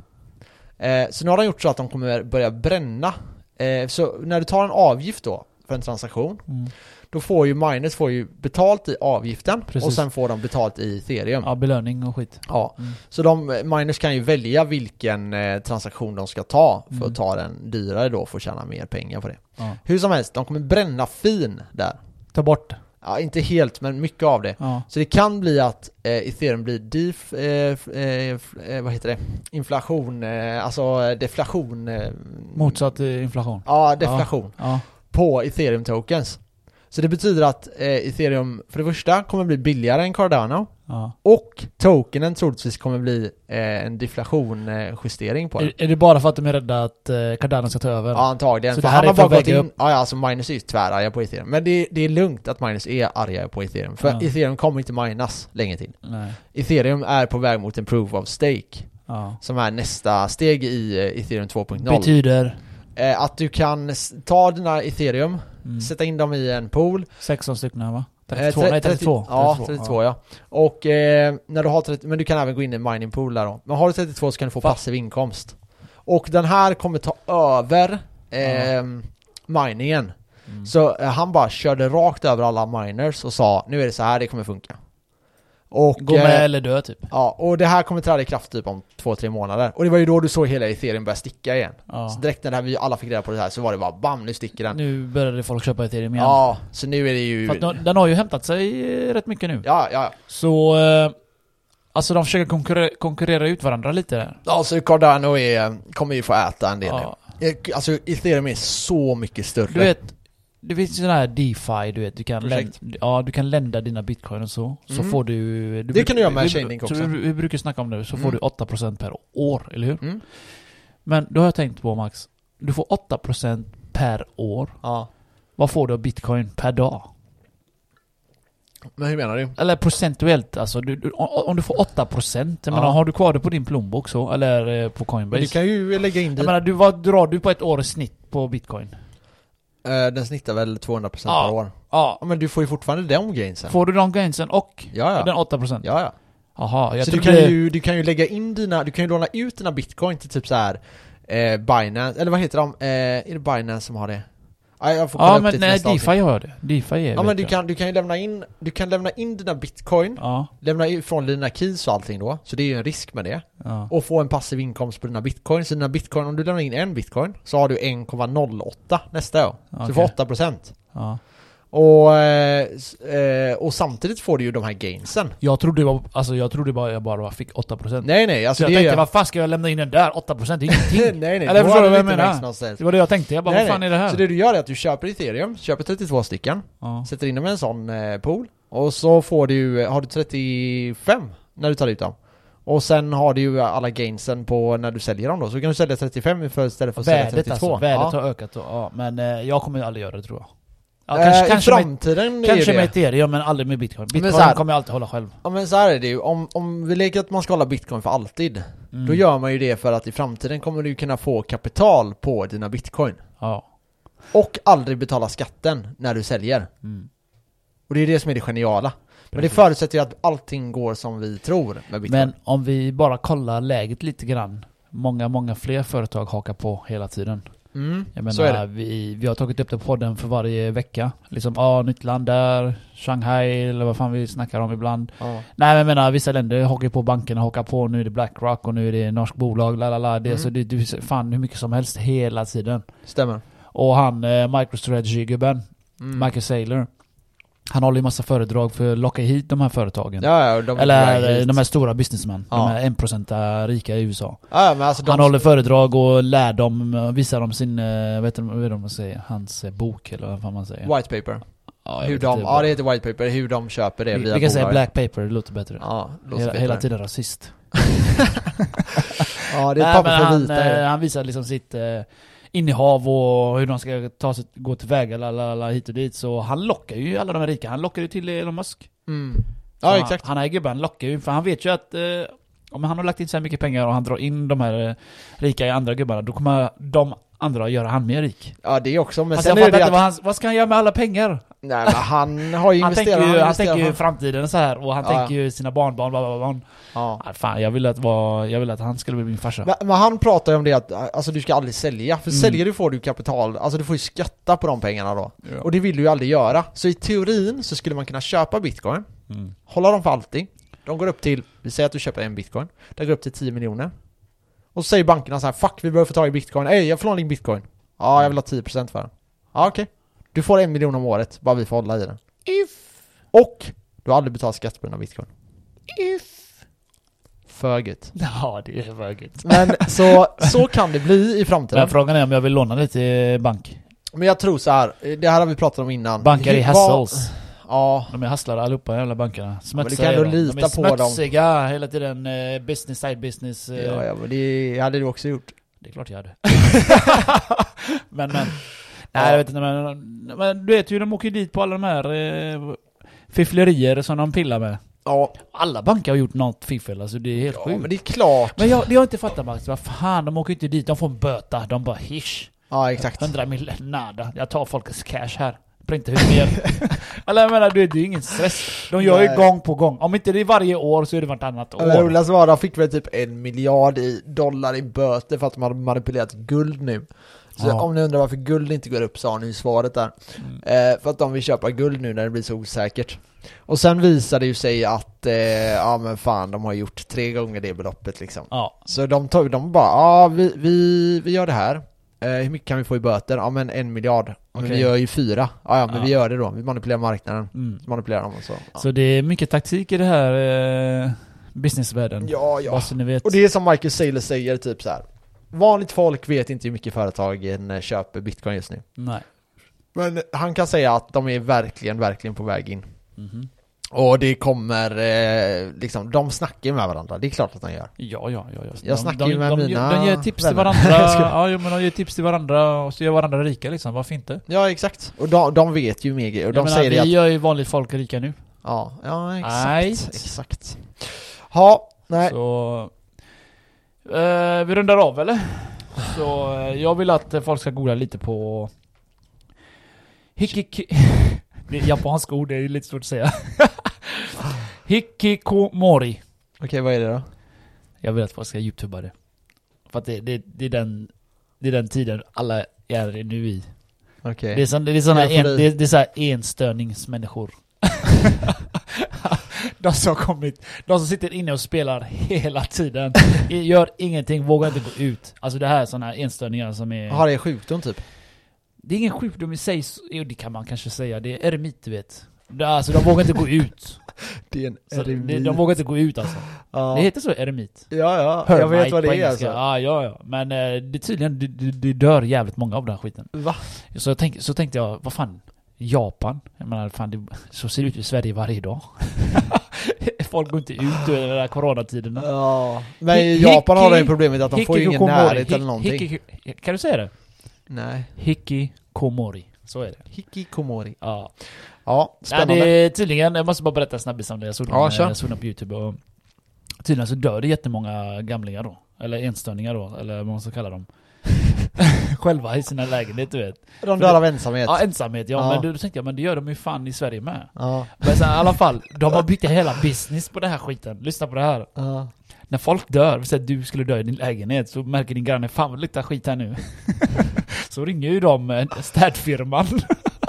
Speaker 1: Eh, så nu har de gjort så att de kommer börja bränna. Eh, så när du tar en avgift då, för en transaktion,
Speaker 2: Mm.
Speaker 1: då får ju miners får ju betalt i avgiften och
Speaker 2: Precis.
Speaker 1: sen får de betalt i ethereum.
Speaker 2: ja, belöning och skit.
Speaker 1: Ja,
Speaker 2: Mm.
Speaker 1: så de, miners kan ju välja vilken eh, transaktion de ska ta för
Speaker 2: Mm.
Speaker 1: att ta den dyrare då för att tjäna mer pengar på det.
Speaker 2: Ja.
Speaker 1: Hur som helst, de kommer bränna fin där.
Speaker 2: Ta bort.
Speaker 1: Ja, inte helt, men mycket av det.
Speaker 2: Ja.
Speaker 1: Så det kan bli att eh, ethereum blir def, eh, f- eh, f- eh, vad heter det? Inflation, eh, alltså eh, deflation. Eh,
Speaker 2: Motsatt eh, inflation.
Speaker 1: Ja, deflation
Speaker 2: Ja.
Speaker 1: på ethereum tokens. Så det betyder att eh, ethereum för det första kommer bli billigare än Cardano.
Speaker 2: ja.
Speaker 1: Och tokenen troligtvis kommer bli eh, en deflationjustering på den.
Speaker 2: Är, är det bara för att de är rädda att eh, Cardano ska ta över?
Speaker 1: Ja, antagligen.
Speaker 2: Så
Speaker 1: För
Speaker 2: det här
Speaker 1: han
Speaker 2: är
Speaker 1: har
Speaker 2: för
Speaker 1: bara
Speaker 2: att
Speaker 1: gått in...
Speaker 2: väga
Speaker 1: Ja, ja, alltså Minus är ju tvärarga på ethereum. Men det, det är lugnt att Minus är arga på ethereum. För
Speaker 2: Ja.
Speaker 1: ethereum kommer inte minas länge till.
Speaker 2: Nej.
Speaker 1: Ethereum är på väg mot en proof of stake.
Speaker 2: Ja.
Speaker 1: Som är nästa steg i eh, ethereum 2.0.
Speaker 2: Betyder
Speaker 1: Eh, att du kan s- ta dina ethereum,
Speaker 2: mm,
Speaker 1: sätta in dem i en pool
Speaker 2: 16 stycken här va?
Speaker 1: Eh,
Speaker 2: 32?
Speaker 1: tre-
Speaker 2: nej, 32.
Speaker 1: trettio- Ja, 32 ja. Och eh, när du har 30, men du kan även gå in i mining pool där då. Men har du 32 så kan du få
Speaker 2: Fan.
Speaker 1: passiv inkomst. Och den här kommer ta över eh, miningen.
Speaker 2: Mm.
Speaker 1: Så eh, han bara körde rakt över alla miners och sa nu är det så här det kommer funka. Och,
Speaker 2: Gå med
Speaker 1: eh,
Speaker 2: eller dö typ.
Speaker 1: ja, och det här kommer träda i kraft typ om två, tre månader. Och det var ju då du såg hela ethereum börja sticka igen.
Speaker 2: Ja.
Speaker 1: Så direkt när det här, vi alla fick reda på det här så var det bara bam, nu sticker den.
Speaker 2: Nu började folk köpa ethereum igen.
Speaker 1: Ja, så nu är det ju...
Speaker 2: För att de- den har ju hämtat sig eh, rätt mycket nu.
Speaker 1: Ja, ja, ja.
Speaker 2: Så... Eh, alltså de försöker konkurrera, konkurrera ut varandra lite där.
Speaker 1: Ja, så Cardano är, kommer ju få äta en del
Speaker 2: Ja.
Speaker 1: nu. Eh, Alltså ethereum är så mycket större.
Speaker 2: Du vet, det finns sådana här DeFi, du vet. Du kan,
Speaker 1: Projekt.
Speaker 2: län- ja, du kan lända dina bitcoin och så. Så
Speaker 1: Mm.
Speaker 2: får du... du
Speaker 1: Det kan du göra med
Speaker 2: vi-
Speaker 1: Chainlink
Speaker 2: så
Speaker 1: också.
Speaker 2: Vi, vi brukar snacka om det, så
Speaker 1: Mm.
Speaker 2: får du 8% per år, eller hur?
Speaker 1: Mm.
Speaker 2: Men då har jag tänkt på Max, du får 8% per år.
Speaker 1: Ja.
Speaker 2: Vad får du av bitcoin per dag?
Speaker 1: Men hur menar du?
Speaker 2: Eller procentuellt alltså, du, du, o- om du får 8% jag
Speaker 1: Ja.
Speaker 2: menar, har du kvar det på din plånbok så, eller eh, på
Speaker 1: Men
Speaker 2: Coinbase?
Speaker 1: du kan ju lägga in
Speaker 2: Jag
Speaker 1: dit,
Speaker 2: menar, du, vad drar du på ett år i snitt på bitcoin?
Speaker 1: eh, den snittar väl 200%
Speaker 2: Ja.
Speaker 1: per år. Ja
Speaker 2: Ja.
Speaker 1: men du får ju fortfarande de gainsen.
Speaker 2: Får du de gainsen och
Speaker 1: Ja,
Speaker 2: den
Speaker 1: ja.
Speaker 2: 8%?
Speaker 1: Ja, ja.
Speaker 2: Jaha, jag
Speaker 1: Så du
Speaker 2: trodde...
Speaker 1: kan, ju, du kan ju lägga in dina, du kan ju låna ut dina bitcoin till typ så här eh, Binance, eller vad heter de? Eh, är det Binance som har det? Ja, jag får kolla
Speaker 2: Ja
Speaker 1: upp det
Speaker 2: men
Speaker 1: till
Speaker 2: nej,
Speaker 1: nästa
Speaker 2: DeFi
Speaker 1: avsnitt.
Speaker 2: har jag det. DeFi är
Speaker 1: Ja
Speaker 2: vet
Speaker 1: men du
Speaker 2: jag.
Speaker 1: kan, du kan ju lämna in, du kan lämna in dina bitcoin,
Speaker 2: Ja,
Speaker 1: lämna ifrån dina keys och allting då, så det är ju en risk med det.
Speaker 2: ja.
Speaker 1: och få en passiv inkomst på dina bitcoin. Så dina bitcoin, om du lämnar in en bitcoin så har du 1,08 nästa år. Så du får
Speaker 2: Okej.
Speaker 1: 8%.
Speaker 2: ja.
Speaker 1: Och, eh, s- eh, och samtidigt får du ju de här gainsen.
Speaker 2: Jag trodde, det var, alltså, jag trodde bara jag bara fick 8%
Speaker 1: Nej nej, alltså
Speaker 2: Så jag
Speaker 1: det är
Speaker 2: tänkte
Speaker 1: ju...
Speaker 2: vad fan ska jag lämna in den där? 8% det är
Speaker 1: nej
Speaker 2: ingenting.
Speaker 1: nej,
Speaker 2: Eller
Speaker 1: då hade
Speaker 2: förstår du vad
Speaker 1: det
Speaker 2: jag
Speaker 1: inte
Speaker 2: menar?
Speaker 1: växt någonstans.
Speaker 2: det var det jag tänkte, jag bara
Speaker 1: Nej,
Speaker 2: vad fan
Speaker 1: nej.
Speaker 2: är det här?
Speaker 1: Så det du gör är att du köper ethereum, köper 32 stycken,
Speaker 2: ja.
Speaker 1: sätter in dem i en sån eh, pool och så får du, eh, har du 35 när du tar ut dem. Och sen har du ju alla gainsen på när du säljer dem då, så kan du sälja 35 för, istället för att sälja
Speaker 2: Värdet
Speaker 1: 32.
Speaker 2: alltså, värdet
Speaker 1: Ja.
Speaker 2: har ökat då, ja, men eh, jag kommer aldrig göra det tror jag. Ja,
Speaker 1: Eh,
Speaker 2: kanske
Speaker 1: I
Speaker 2: kanske, med,
Speaker 1: framtiden är
Speaker 2: kanske
Speaker 1: det.
Speaker 2: med ethereum men aldrig med bitcoin. Bitcoin
Speaker 1: så här-
Speaker 2: kommer jag alltid hålla själv.
Speaker 1: Ja men så här är det ju, om, om vi leker att man ska hålla bitcoin för alltid
Speaker 2: Mm.
Speaker 1: Då gör man ju det för att i framtiden kommer du kunna få kapital på dina bitcoin
Speaker 2: Ja.
Speaker 1: Och aldrig betala skatten när du säljer
Speaker 2: Mm.
Speaker 1: Och det är det som är det geniala. Men det
Speaker 2: Precis.
Speaker 1: förutsätter ju att allting går som vi tror med bitcoin.
Speaker 2: Men om vi bara kollar läget lite grann. Många, många fler företag hakar på hela tiden.
Speaker 1: mm,
Speaker 2: Jag menar,
Speaker 1: så är det.
Speaker 2: Vi, vi har tagit upp det på podden för varje vecka. Liksom, ja, ah, nytt land där, Shanghai eller vad fan vi snackar om ibland.
Speaker 1: Ja.
Speaker 2: Nej men jag menar, vissa länder hakar på bankerna, hakar på, nu är det Blackrock och nu är det norsk bolag, la la la. Det, är
Speaker 1: Mm.
Speaker 2: så det, det är fan hur mycket som helst hela tiden.
Speaker 1: Stämmer.
Speaker 2: Och han, eh, MicroStrategy-gubben,
Speaker 1: Mm.
Speaker 2: Michael Saylor. Han håller ju massa föredrag för att locka hit de här företagen.
Speaker 1: Ja, ja, de,
Speaker 2: Eller eh, de här stora businessmen.
Speaker 1: Ja.
Speaker 2: De här 1% rika i USA.
Speaker 1: Ja, men alltså de...
Speaker 2: Han håller föredrag och lär dem, eh, visar dem sin, eh, vet du vad är det man säger, hans eh, bok eller vad fan man säger.
Speaker 1: White paper.
Speaker 2: Ja, jag
Speaker 1: Hur
Speaker 2: vet
Speaker 1: de,
Speaker 2: inte.
Speaker 1: ja det heter white paper, hur de köper det
Speaker 2: vi,
Speaker 1: via
Speaker 2: vi kan säga
Speaker 1: bolag.
Speaker 2: black paper, det låter bättre.
Speaker 1: Ja, låter
Speaker 2: hela,
Speaker 1: bättre.
Speaker 2: hela tiden rasist.
Speaker 1: Ja, det är
Speaker 2: Nej,
Speaker 1: ett papper
Speaker 2: men
Speaker 1: för
Speaker 2: han,
Speaker 1: vita.
Speaker 2: eh,
Speaker 1: ju.
Speaker 2: han visar liksom sitt eh, innehav och hur de ska ta sig, gå tillväga, la, la, la, hit och dit. Så han lockar ju alla de här rika. Han lockar ju till Elon Musk.
Speaker 1: Mm. Ja,
Speaker 2: han,
Speaker 1: exakt.
Speaker 2: Han är gubben, lockar ju. För han vet ju att eh, om han har lagt in så här mycket pengar och han drar in de här eh, rika andra gubbarna, då kommer de andra göra han mer rik.
Speaker 1: Ja, det är också, men
Speaker 2: alltså
Speaker 1: sen
Speaker 2: jag
Speaker 1: är
Speaker 2: fattar
Speaker 1: det
Speaker 2: inte
Speaker 1: att...
Speaker 2: vad, han, vad ska han göra med alla pengar?
Speaker 1: Nej, men han har ju
Speaker 2: Han tänker
Speaker 1: investerat,
Speaker 2: ju, han
Speaker 1: investerar-
Speaker 2: tänker ju framtiden så här och han
Speaker 1: Ja,
Speaker 2: tänker ju sina barnbarn, blablabla.
Speaker 1: Ja.
Speaker 2: Ah, fan, jag ville att, vara- jag ville att han skulle bli min farsa.
Speaker 1: Men, men han pratar ju om det att alltså, du ska aldrig sälja, för
Speaker 2: Mm.
Speaker 1: säljer du får du kapital, alltså du får ju skatta på de pengarna då.
Speaker 2: Ja.
Speaker 1: Och det vill du ju aldrig göra. Så i teorin så skulle man kunna köpa bitcoin,
Speaker 2: Mm.
Speaker 1: hålla dem för alltid. De går upp till, vi säger att du köper en bitcoin, den går upp till 10 miljoner. Och så säger bankerna så här, fuck vi behöver få tag i bitcoin, ey jag vill ha din bitcoin. Ja, jag vill ha 10% för den. Ja, okej. Du får en miljon om året, bara vi får hålla i den.
Speaker 2: If,
Speaker 1: Och du har aldrig betalat skatt på dina bitcoin.
Speaker 2: if.
Speaker 1: För gött.
Speaker 2: Ja, det är verkligt.
Speaker 1: Men så, så kan det bli i
Speaker 2: Men
Speaker 1: framtiden.
Speaker 2: frågan är om jag vill låna lite i bank.
Speaker 1: Men jag tror så här, det här har vi pratat om innan.
Speaker 2: Banker är
Speaker 1: Hur- vad-
Speaker 2: hassles.
Speaker 1: Ja,
Speaker 2: De är hustlare allihopa, de jävla bankerna.
Speaker 1: men det
Speaker 2: Smutsiga
Speaker 1: kan
Speaker 2: är
Speaker 1: du
Speaker 2: de. de
Speaker 1: lita
Speaker 2: är
Speaker 1: på dem.
Speaker 2: smutsiga hela tiden. eh, Business, side business. eh,
Speaker 1: ja, ja men det hade du också gjort.
Speaker 2: Det är klart jag hade. men men. Nej jag vet inte men, men du vet ju de åker dit på alla de här eh, fifflerier som de pillar med.
Speaker 1: Ja,
Speaker 2: Alla banker har gjort något fiffel alltså det är helt
Speaker 1: ja
Speaker 2: sjukt.
Speaker 1: men
Speaker 2: Men,
Speaker 1: det är klart.
Speaker 2: jag, det har jag inte fattat Max, vad fan de åker inte dit, de får en böta, de bara hish.
Speaker 1: Ja, exakt.
Speaker 2: 100 mil, nada. Jag tar folkets cash här. Printa ut mer. Eller jag menar, du vet, det är ju ingen stress. De gör
Speaker 1: Nej.
Speaker 2: ju gång på gång. Om inte det är varje år så är det vartannat år.
Speaker 1: Eller Ola Svara fick väl typ en miljard i dollar i böter för att de hade manipulerat guld nu. Så
Speaker 2: Ja.
Speaker 1: om ni undrar varför guld inte går upp så har ni ju svaret där.
Speaker 2: Mm.
Speaker 1: Eh, för att de vill köpa guld nu när det blir så osäkert. Och sen visar det ju sig att, eh, ja men fan, de har gjort tre gånger det beloppet liksom.
Speaker 2: Ja.
Speaker 1: Så de, tog, de bara, ja ah, vi, vi, vi gör det här. Eh, hur mycket kan vi få i böter? Ja ah, men en miljard. Ja, Men vi
Speaker 2: Okej.
Speaker 1: gör ju fyra. Ah, ja men
Speaker 2: Ja.
Speaker 1: vi gör det då. Vi manipulerar marknaden.
Speaker 2: Mm.
Speaker 1: Så manipulerar de och så. Ja.
Speaker 2: Så det är mycket taktik i det här eh, businessvärlden.
Speaker 1: ja ja.
Speaker 2: Bara så ni vet.
Speaker 1: Och det är som Michael Saylor säger typ så här. Vanligt folk vet inte hur mycket företagen eh, köper bitcoin just nu.
Speaker 2: Nej.
Speaker 1: Men han kan säga att de är verkligen, verkligen på väg in.
Speaker 2: Mhm.
Speaker 1: Och det kommer, eh, liksom, de snackar ju med varandra. Det är klart att de gör.
Speaker 2: Ja, ja, ja. ja.
Speaker 1: Jag snackar ju med
Speaker 2: de,
Speaker 1: mina
Speaker 2: De ger tips till
Speaker 1: vänner.
Speaker 2: varandra.
Speaker 1: Jag skojar.
Speaker 2: ja, jo, men de ger tips till varandra och så gör varandra rika liksom. Varför inte?
Speaker 1: Ja exakt. Och de, de vet ju mer grejer. Och
Speaker 2: jag
Speaker 1: de
Speaker 2: menar,
Speaker 1: säger
Speaker 2: vi
Speaker 1: det att
Speaker 2: gör ju vanligt folk rika nu.
Speaker 1: Ja, ja exakt.
Speaker 2: Ajt.
Speaker 1: Exakt. Ja, nej.
Speaker 2: Så... Eh, vi rundar av eller? Så eh, jag vill att eh, folk ska googla lite på... Hikiki... det är japanska ord, det är lite svårt att säga. Hikikomori.
Speaker 1: Okej, vad är det då?
Speaker 2: Jag vill att folk ska youtuba det. För att det, det, det, är, den, det är den tiden alla är nu i.
Speaker 1: Okej.
Speaker 2: Det är, sån, det är såna en,
Speaker 1: Eufori.
Speaker 2: det är, det är så här enstörningsmänniskor. de som har kommit, de som sitter inne och spelar hela tiden. I- Gör ingenting, vågar inte gå ut. Alltså det här är såna här enstörningar som är...
Speaker 1: Har det är sjukdom typ?
Speaker 2: Det är ingen sjukdom i sig, så- jo det kan man kanske säga. Det är eremit du vet. Det- Alltså de vågar inte gå ut.
Speaker 1: Det är en
Speaker 2: Så det, de vågar inte gå ut alltså.
Speaker 1: ja.
Speaker 2: Det heter så, eremit.
Speaker 1: ja, ja. jag
Speaker 2: Hermite
Speaker 1: vet vad
Speaker 2: på
Speaker 1: det är
Speaker 2: engelska.
Speaker 1: alltså.
Speaker 2: Ja, ja, ja. Men eh, det är tydligen, det, det, det dör jävligt många av den här skiten.
Speaker 1: Va?
Speaker 2: Så, jag tänk, så tänkte jag, vad fan, Japan? Jag menar, fan, det, så ser det ut i Sverige varje dag. Folk går inte ut under de där coronatiderna.
Speaker 1: Ja. Men i
Speaker 2: Hi-
Speaker 1: Japan har
Speaker 2: hiki-
Speaker 1: det ju problemet att de får ju ingen
Speaker 2: Hikikomori.
Speaker 1: närhet eller
Speaker 2: Hi-
Speaker 1: någonting.
Speaker 2: hiki- kan du säga det?
Speaker 1: Nej.
Speaker 2: Hikikomori. Så är det.
Speaker 1: Hikikomori.
Speaker 2: Ja.
Speaker 1: Ja,
Speaker 2: Nej,
Speaker 1: spännande.
Speaker 2: det är tydligen, jag måste bara berätta snabbt om det. Jag såg,
Speaker 1: Ja,
Speaker 2: den,
Speaker 1: kör.
Speaker 2: eh, såg den på youtube och tydligen så dör det jättemånga gamlingar då. Eller enstörningar då, eller vad man ska kalla dem. själva i sina lägenheter du vet.
Speaker 1: De dör av ensamhet.
Speaker 2: Ja, ensamhet ja,
Speaker 1: Ja.
Speaker 2: men då tänkte jag, men det gör de ju fan i Sverige med.
Speaker 1: Ja.
Speaker 2: Men sen, i alla fall, de har byggt en hela business på den här skiten. Lyssna på det här.
Speaker 1: Ja.
Speaker 2: När folk dör, säg att du skulle dö i din lägenhet, så märker din granne 'Fan vad det luktar skit här nu' Så ringer ju de eh, städfirman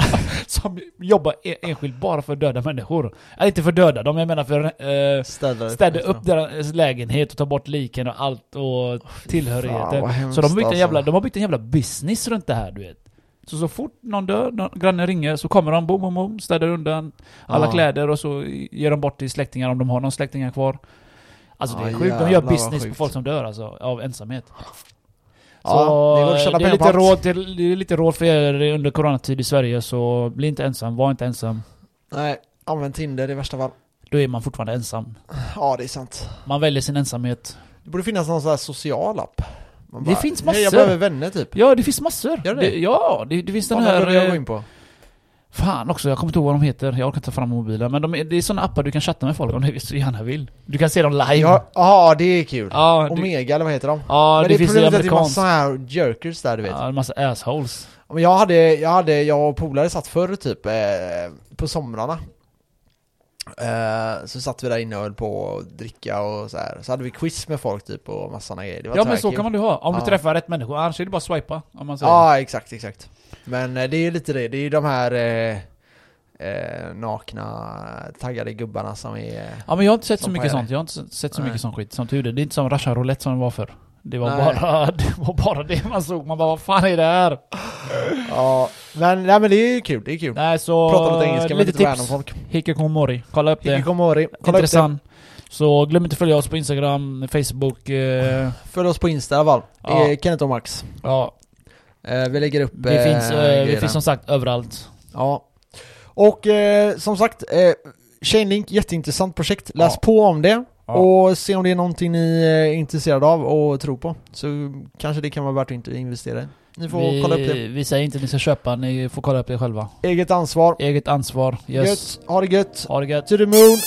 Speaker 2: Som jobbar e- enskilt bara för döda människor. Eller inte för döda dem, jag menar för eh,
Speaker 1: Städa,
Speaker 2: städa upp deras lägenhet och ta bort liken och allt och
Speaker 1: fan, vad
Speaker 2: tillhörigheter.
Speaker 1: hemskt
Speaker 2: Så de har, byggt en
Speaker 1: alltså.
Speaker 2: jävla, de har byggt en jävla business runt det här du vet. Så så fort någon dör, någon granne ringer, så kommer de, boom, boom, boom, städar undan alla
Speaker 1: Ja.
Speaker 2: kläder och så ger de bort till släktingar om de har någon släktingar kvar. Alltså det är
Speaker 1: Ja,
Speaker 2: sjukt, de
Speaker 1: jävlar
Speaker 2: gör
Speaker 1: vad
Speaker 2: business på
Speaker 1: sjukt.
Speaker 2: folk som dör alltså, av ensamhet. Så
Speaker 1: Ja, det går att tjäna
Speaker 2: det, är
Speaker 1: pengar på
Speaker 2: lite
Speaker 1: allt.
Speaker 2: råd, till- det är lite råd för er under coronatid i Sverige, så bli inte ensam, var inte ensam.
Speaker 1: Nej, använd Tinder i värsta fall.
Speaker 2: Då är man fortfarande ensam.
Speaker 1: Ja, det är sant.
Speaker 2: Man väljer sin ensamhet.
Speaker 1: Det borde finnas någon sån här social app. Man
Speaker 2: Det finns
Speaker 1: "Hej,
Speaker 2: massor."
Speaker 1: Jag behöver vänner typ.
Speaker 2: Ja, det finns massor.
Speaker 1: Gör det?
Speaker 2: ja, det, det finns den
Speaker 1: Fan,
Speaker 2: här...
Speaker 1: behöver jag
Speaker 2: eh,
Speaker 1: gå in på.
Speaker 2: Fan också, jag kommer inte ihåg vad de heter. Jag orkar inte ta fram mobilen. Men de, är- det är såna appar du kan chatta med folk om du så gärna vill. Du kan se dem live.
Speaker 1: Ja, ja, det är kul.
Speaker 2: ja, du,
Speaker 1: Omega eller vad heter de?
Speaker 2: ja
Speaker 1: Men
Speaker 2: det,
Speaker 1: det,
Speaker 2: finns ju
Speaker 1: problemet är att det är
Speaker 2: amerikanskt.
Speaker 1: massa här jerkers där du vet.
Speaker 2: Ja, en massa assholes.
Speaker 1: Men jag hade, jag hade, jag och polare satt förr typ eh, på somrarna. Eh, så satt vi där inne och höll på att dricka och så här. Så hade vi quiz med folk typ och massa såna grejer. Det var
Speaker 2: Ja men så
Speaker 1: tvärkul.
Speaker 2: kan man ju ha. Om du
Speaker 1: Ja.
Speaker 2: träffar rätt människor. Annars är det bara att swipa. Om man säger.
Speaker 1: Ja, exakt, exakt. Men eh, det är ju lite det, det är ju de här eh, eh, nakna taggade gubbarna som är... eh,
Speaker 2: ja men jag har inte sett så
Speaker 1: Som
Speaker 2: mycket
Speaker 1: pajar.
Speaker 2: sånt. Jag har inte sett så
Speaker 1: Nej.
Speaker 2: mycket sån skit. Som tur är. Det är inte som Russian roulette som det var förr. Det var,
Speaker 1: Nej.
Speaker 2: bara, det var bara det man såg. Man bara vad fan är det här?
Speaker 1: Ja, men, nej, men det är ju kul, det är kul.
Speaker 2: Nej så...
Speaker 1: Prata lite engelska med
Speaker 2: lite
Speaker 1: lite random
Speaker 2: tips.
Speaker 1: folk.
Speaker 2: Hikikomori. Kolla upp det.
Speaker 1: Hikikomori, kolla upp det.
Speaker 2: Intressant. Så glöm inte att följa oss på Instagram, Facebook, eh,
Speaker 1: Följ oss på Insta i alla fall. Det är
Speaker 2: Ja.
Speaker 1: Kenneth och Max.
Speaker 2: ja.
Speaker 1: Eh, vi lägger upp
Speaker 2: Vi,
Speaker 1: eh,
Speaker 2: finns, eh, vi
Speaker 1: grejerna.
Speaker 2: finns som sagt överallt.
Speaker 1: Ja. Och eh, som sagt, eh, Chainlink, jätteintressant projekt. Läs
Speaker 2: Ja.
Speaker 1: på om det.
Speaker 2: Ja.
Speaker 1: Och se om det är någonting ni eh, är intresserade av och tror på. Så kanske det kan vara värt att investera i. Ni får
Speaker 2: vi,
Speaker 1: kolla upp det.
Speaker 2: vi säger inte att ni ska köpa, ni får kolla upp det själva.
Speaker 1: Eget ansvar.
Speaker 2: Eget ansvar. Yes.
Speaker 1: Gött, ha det gött.
Speaker 2: Ha det gött.
Speaker 1: To the moon.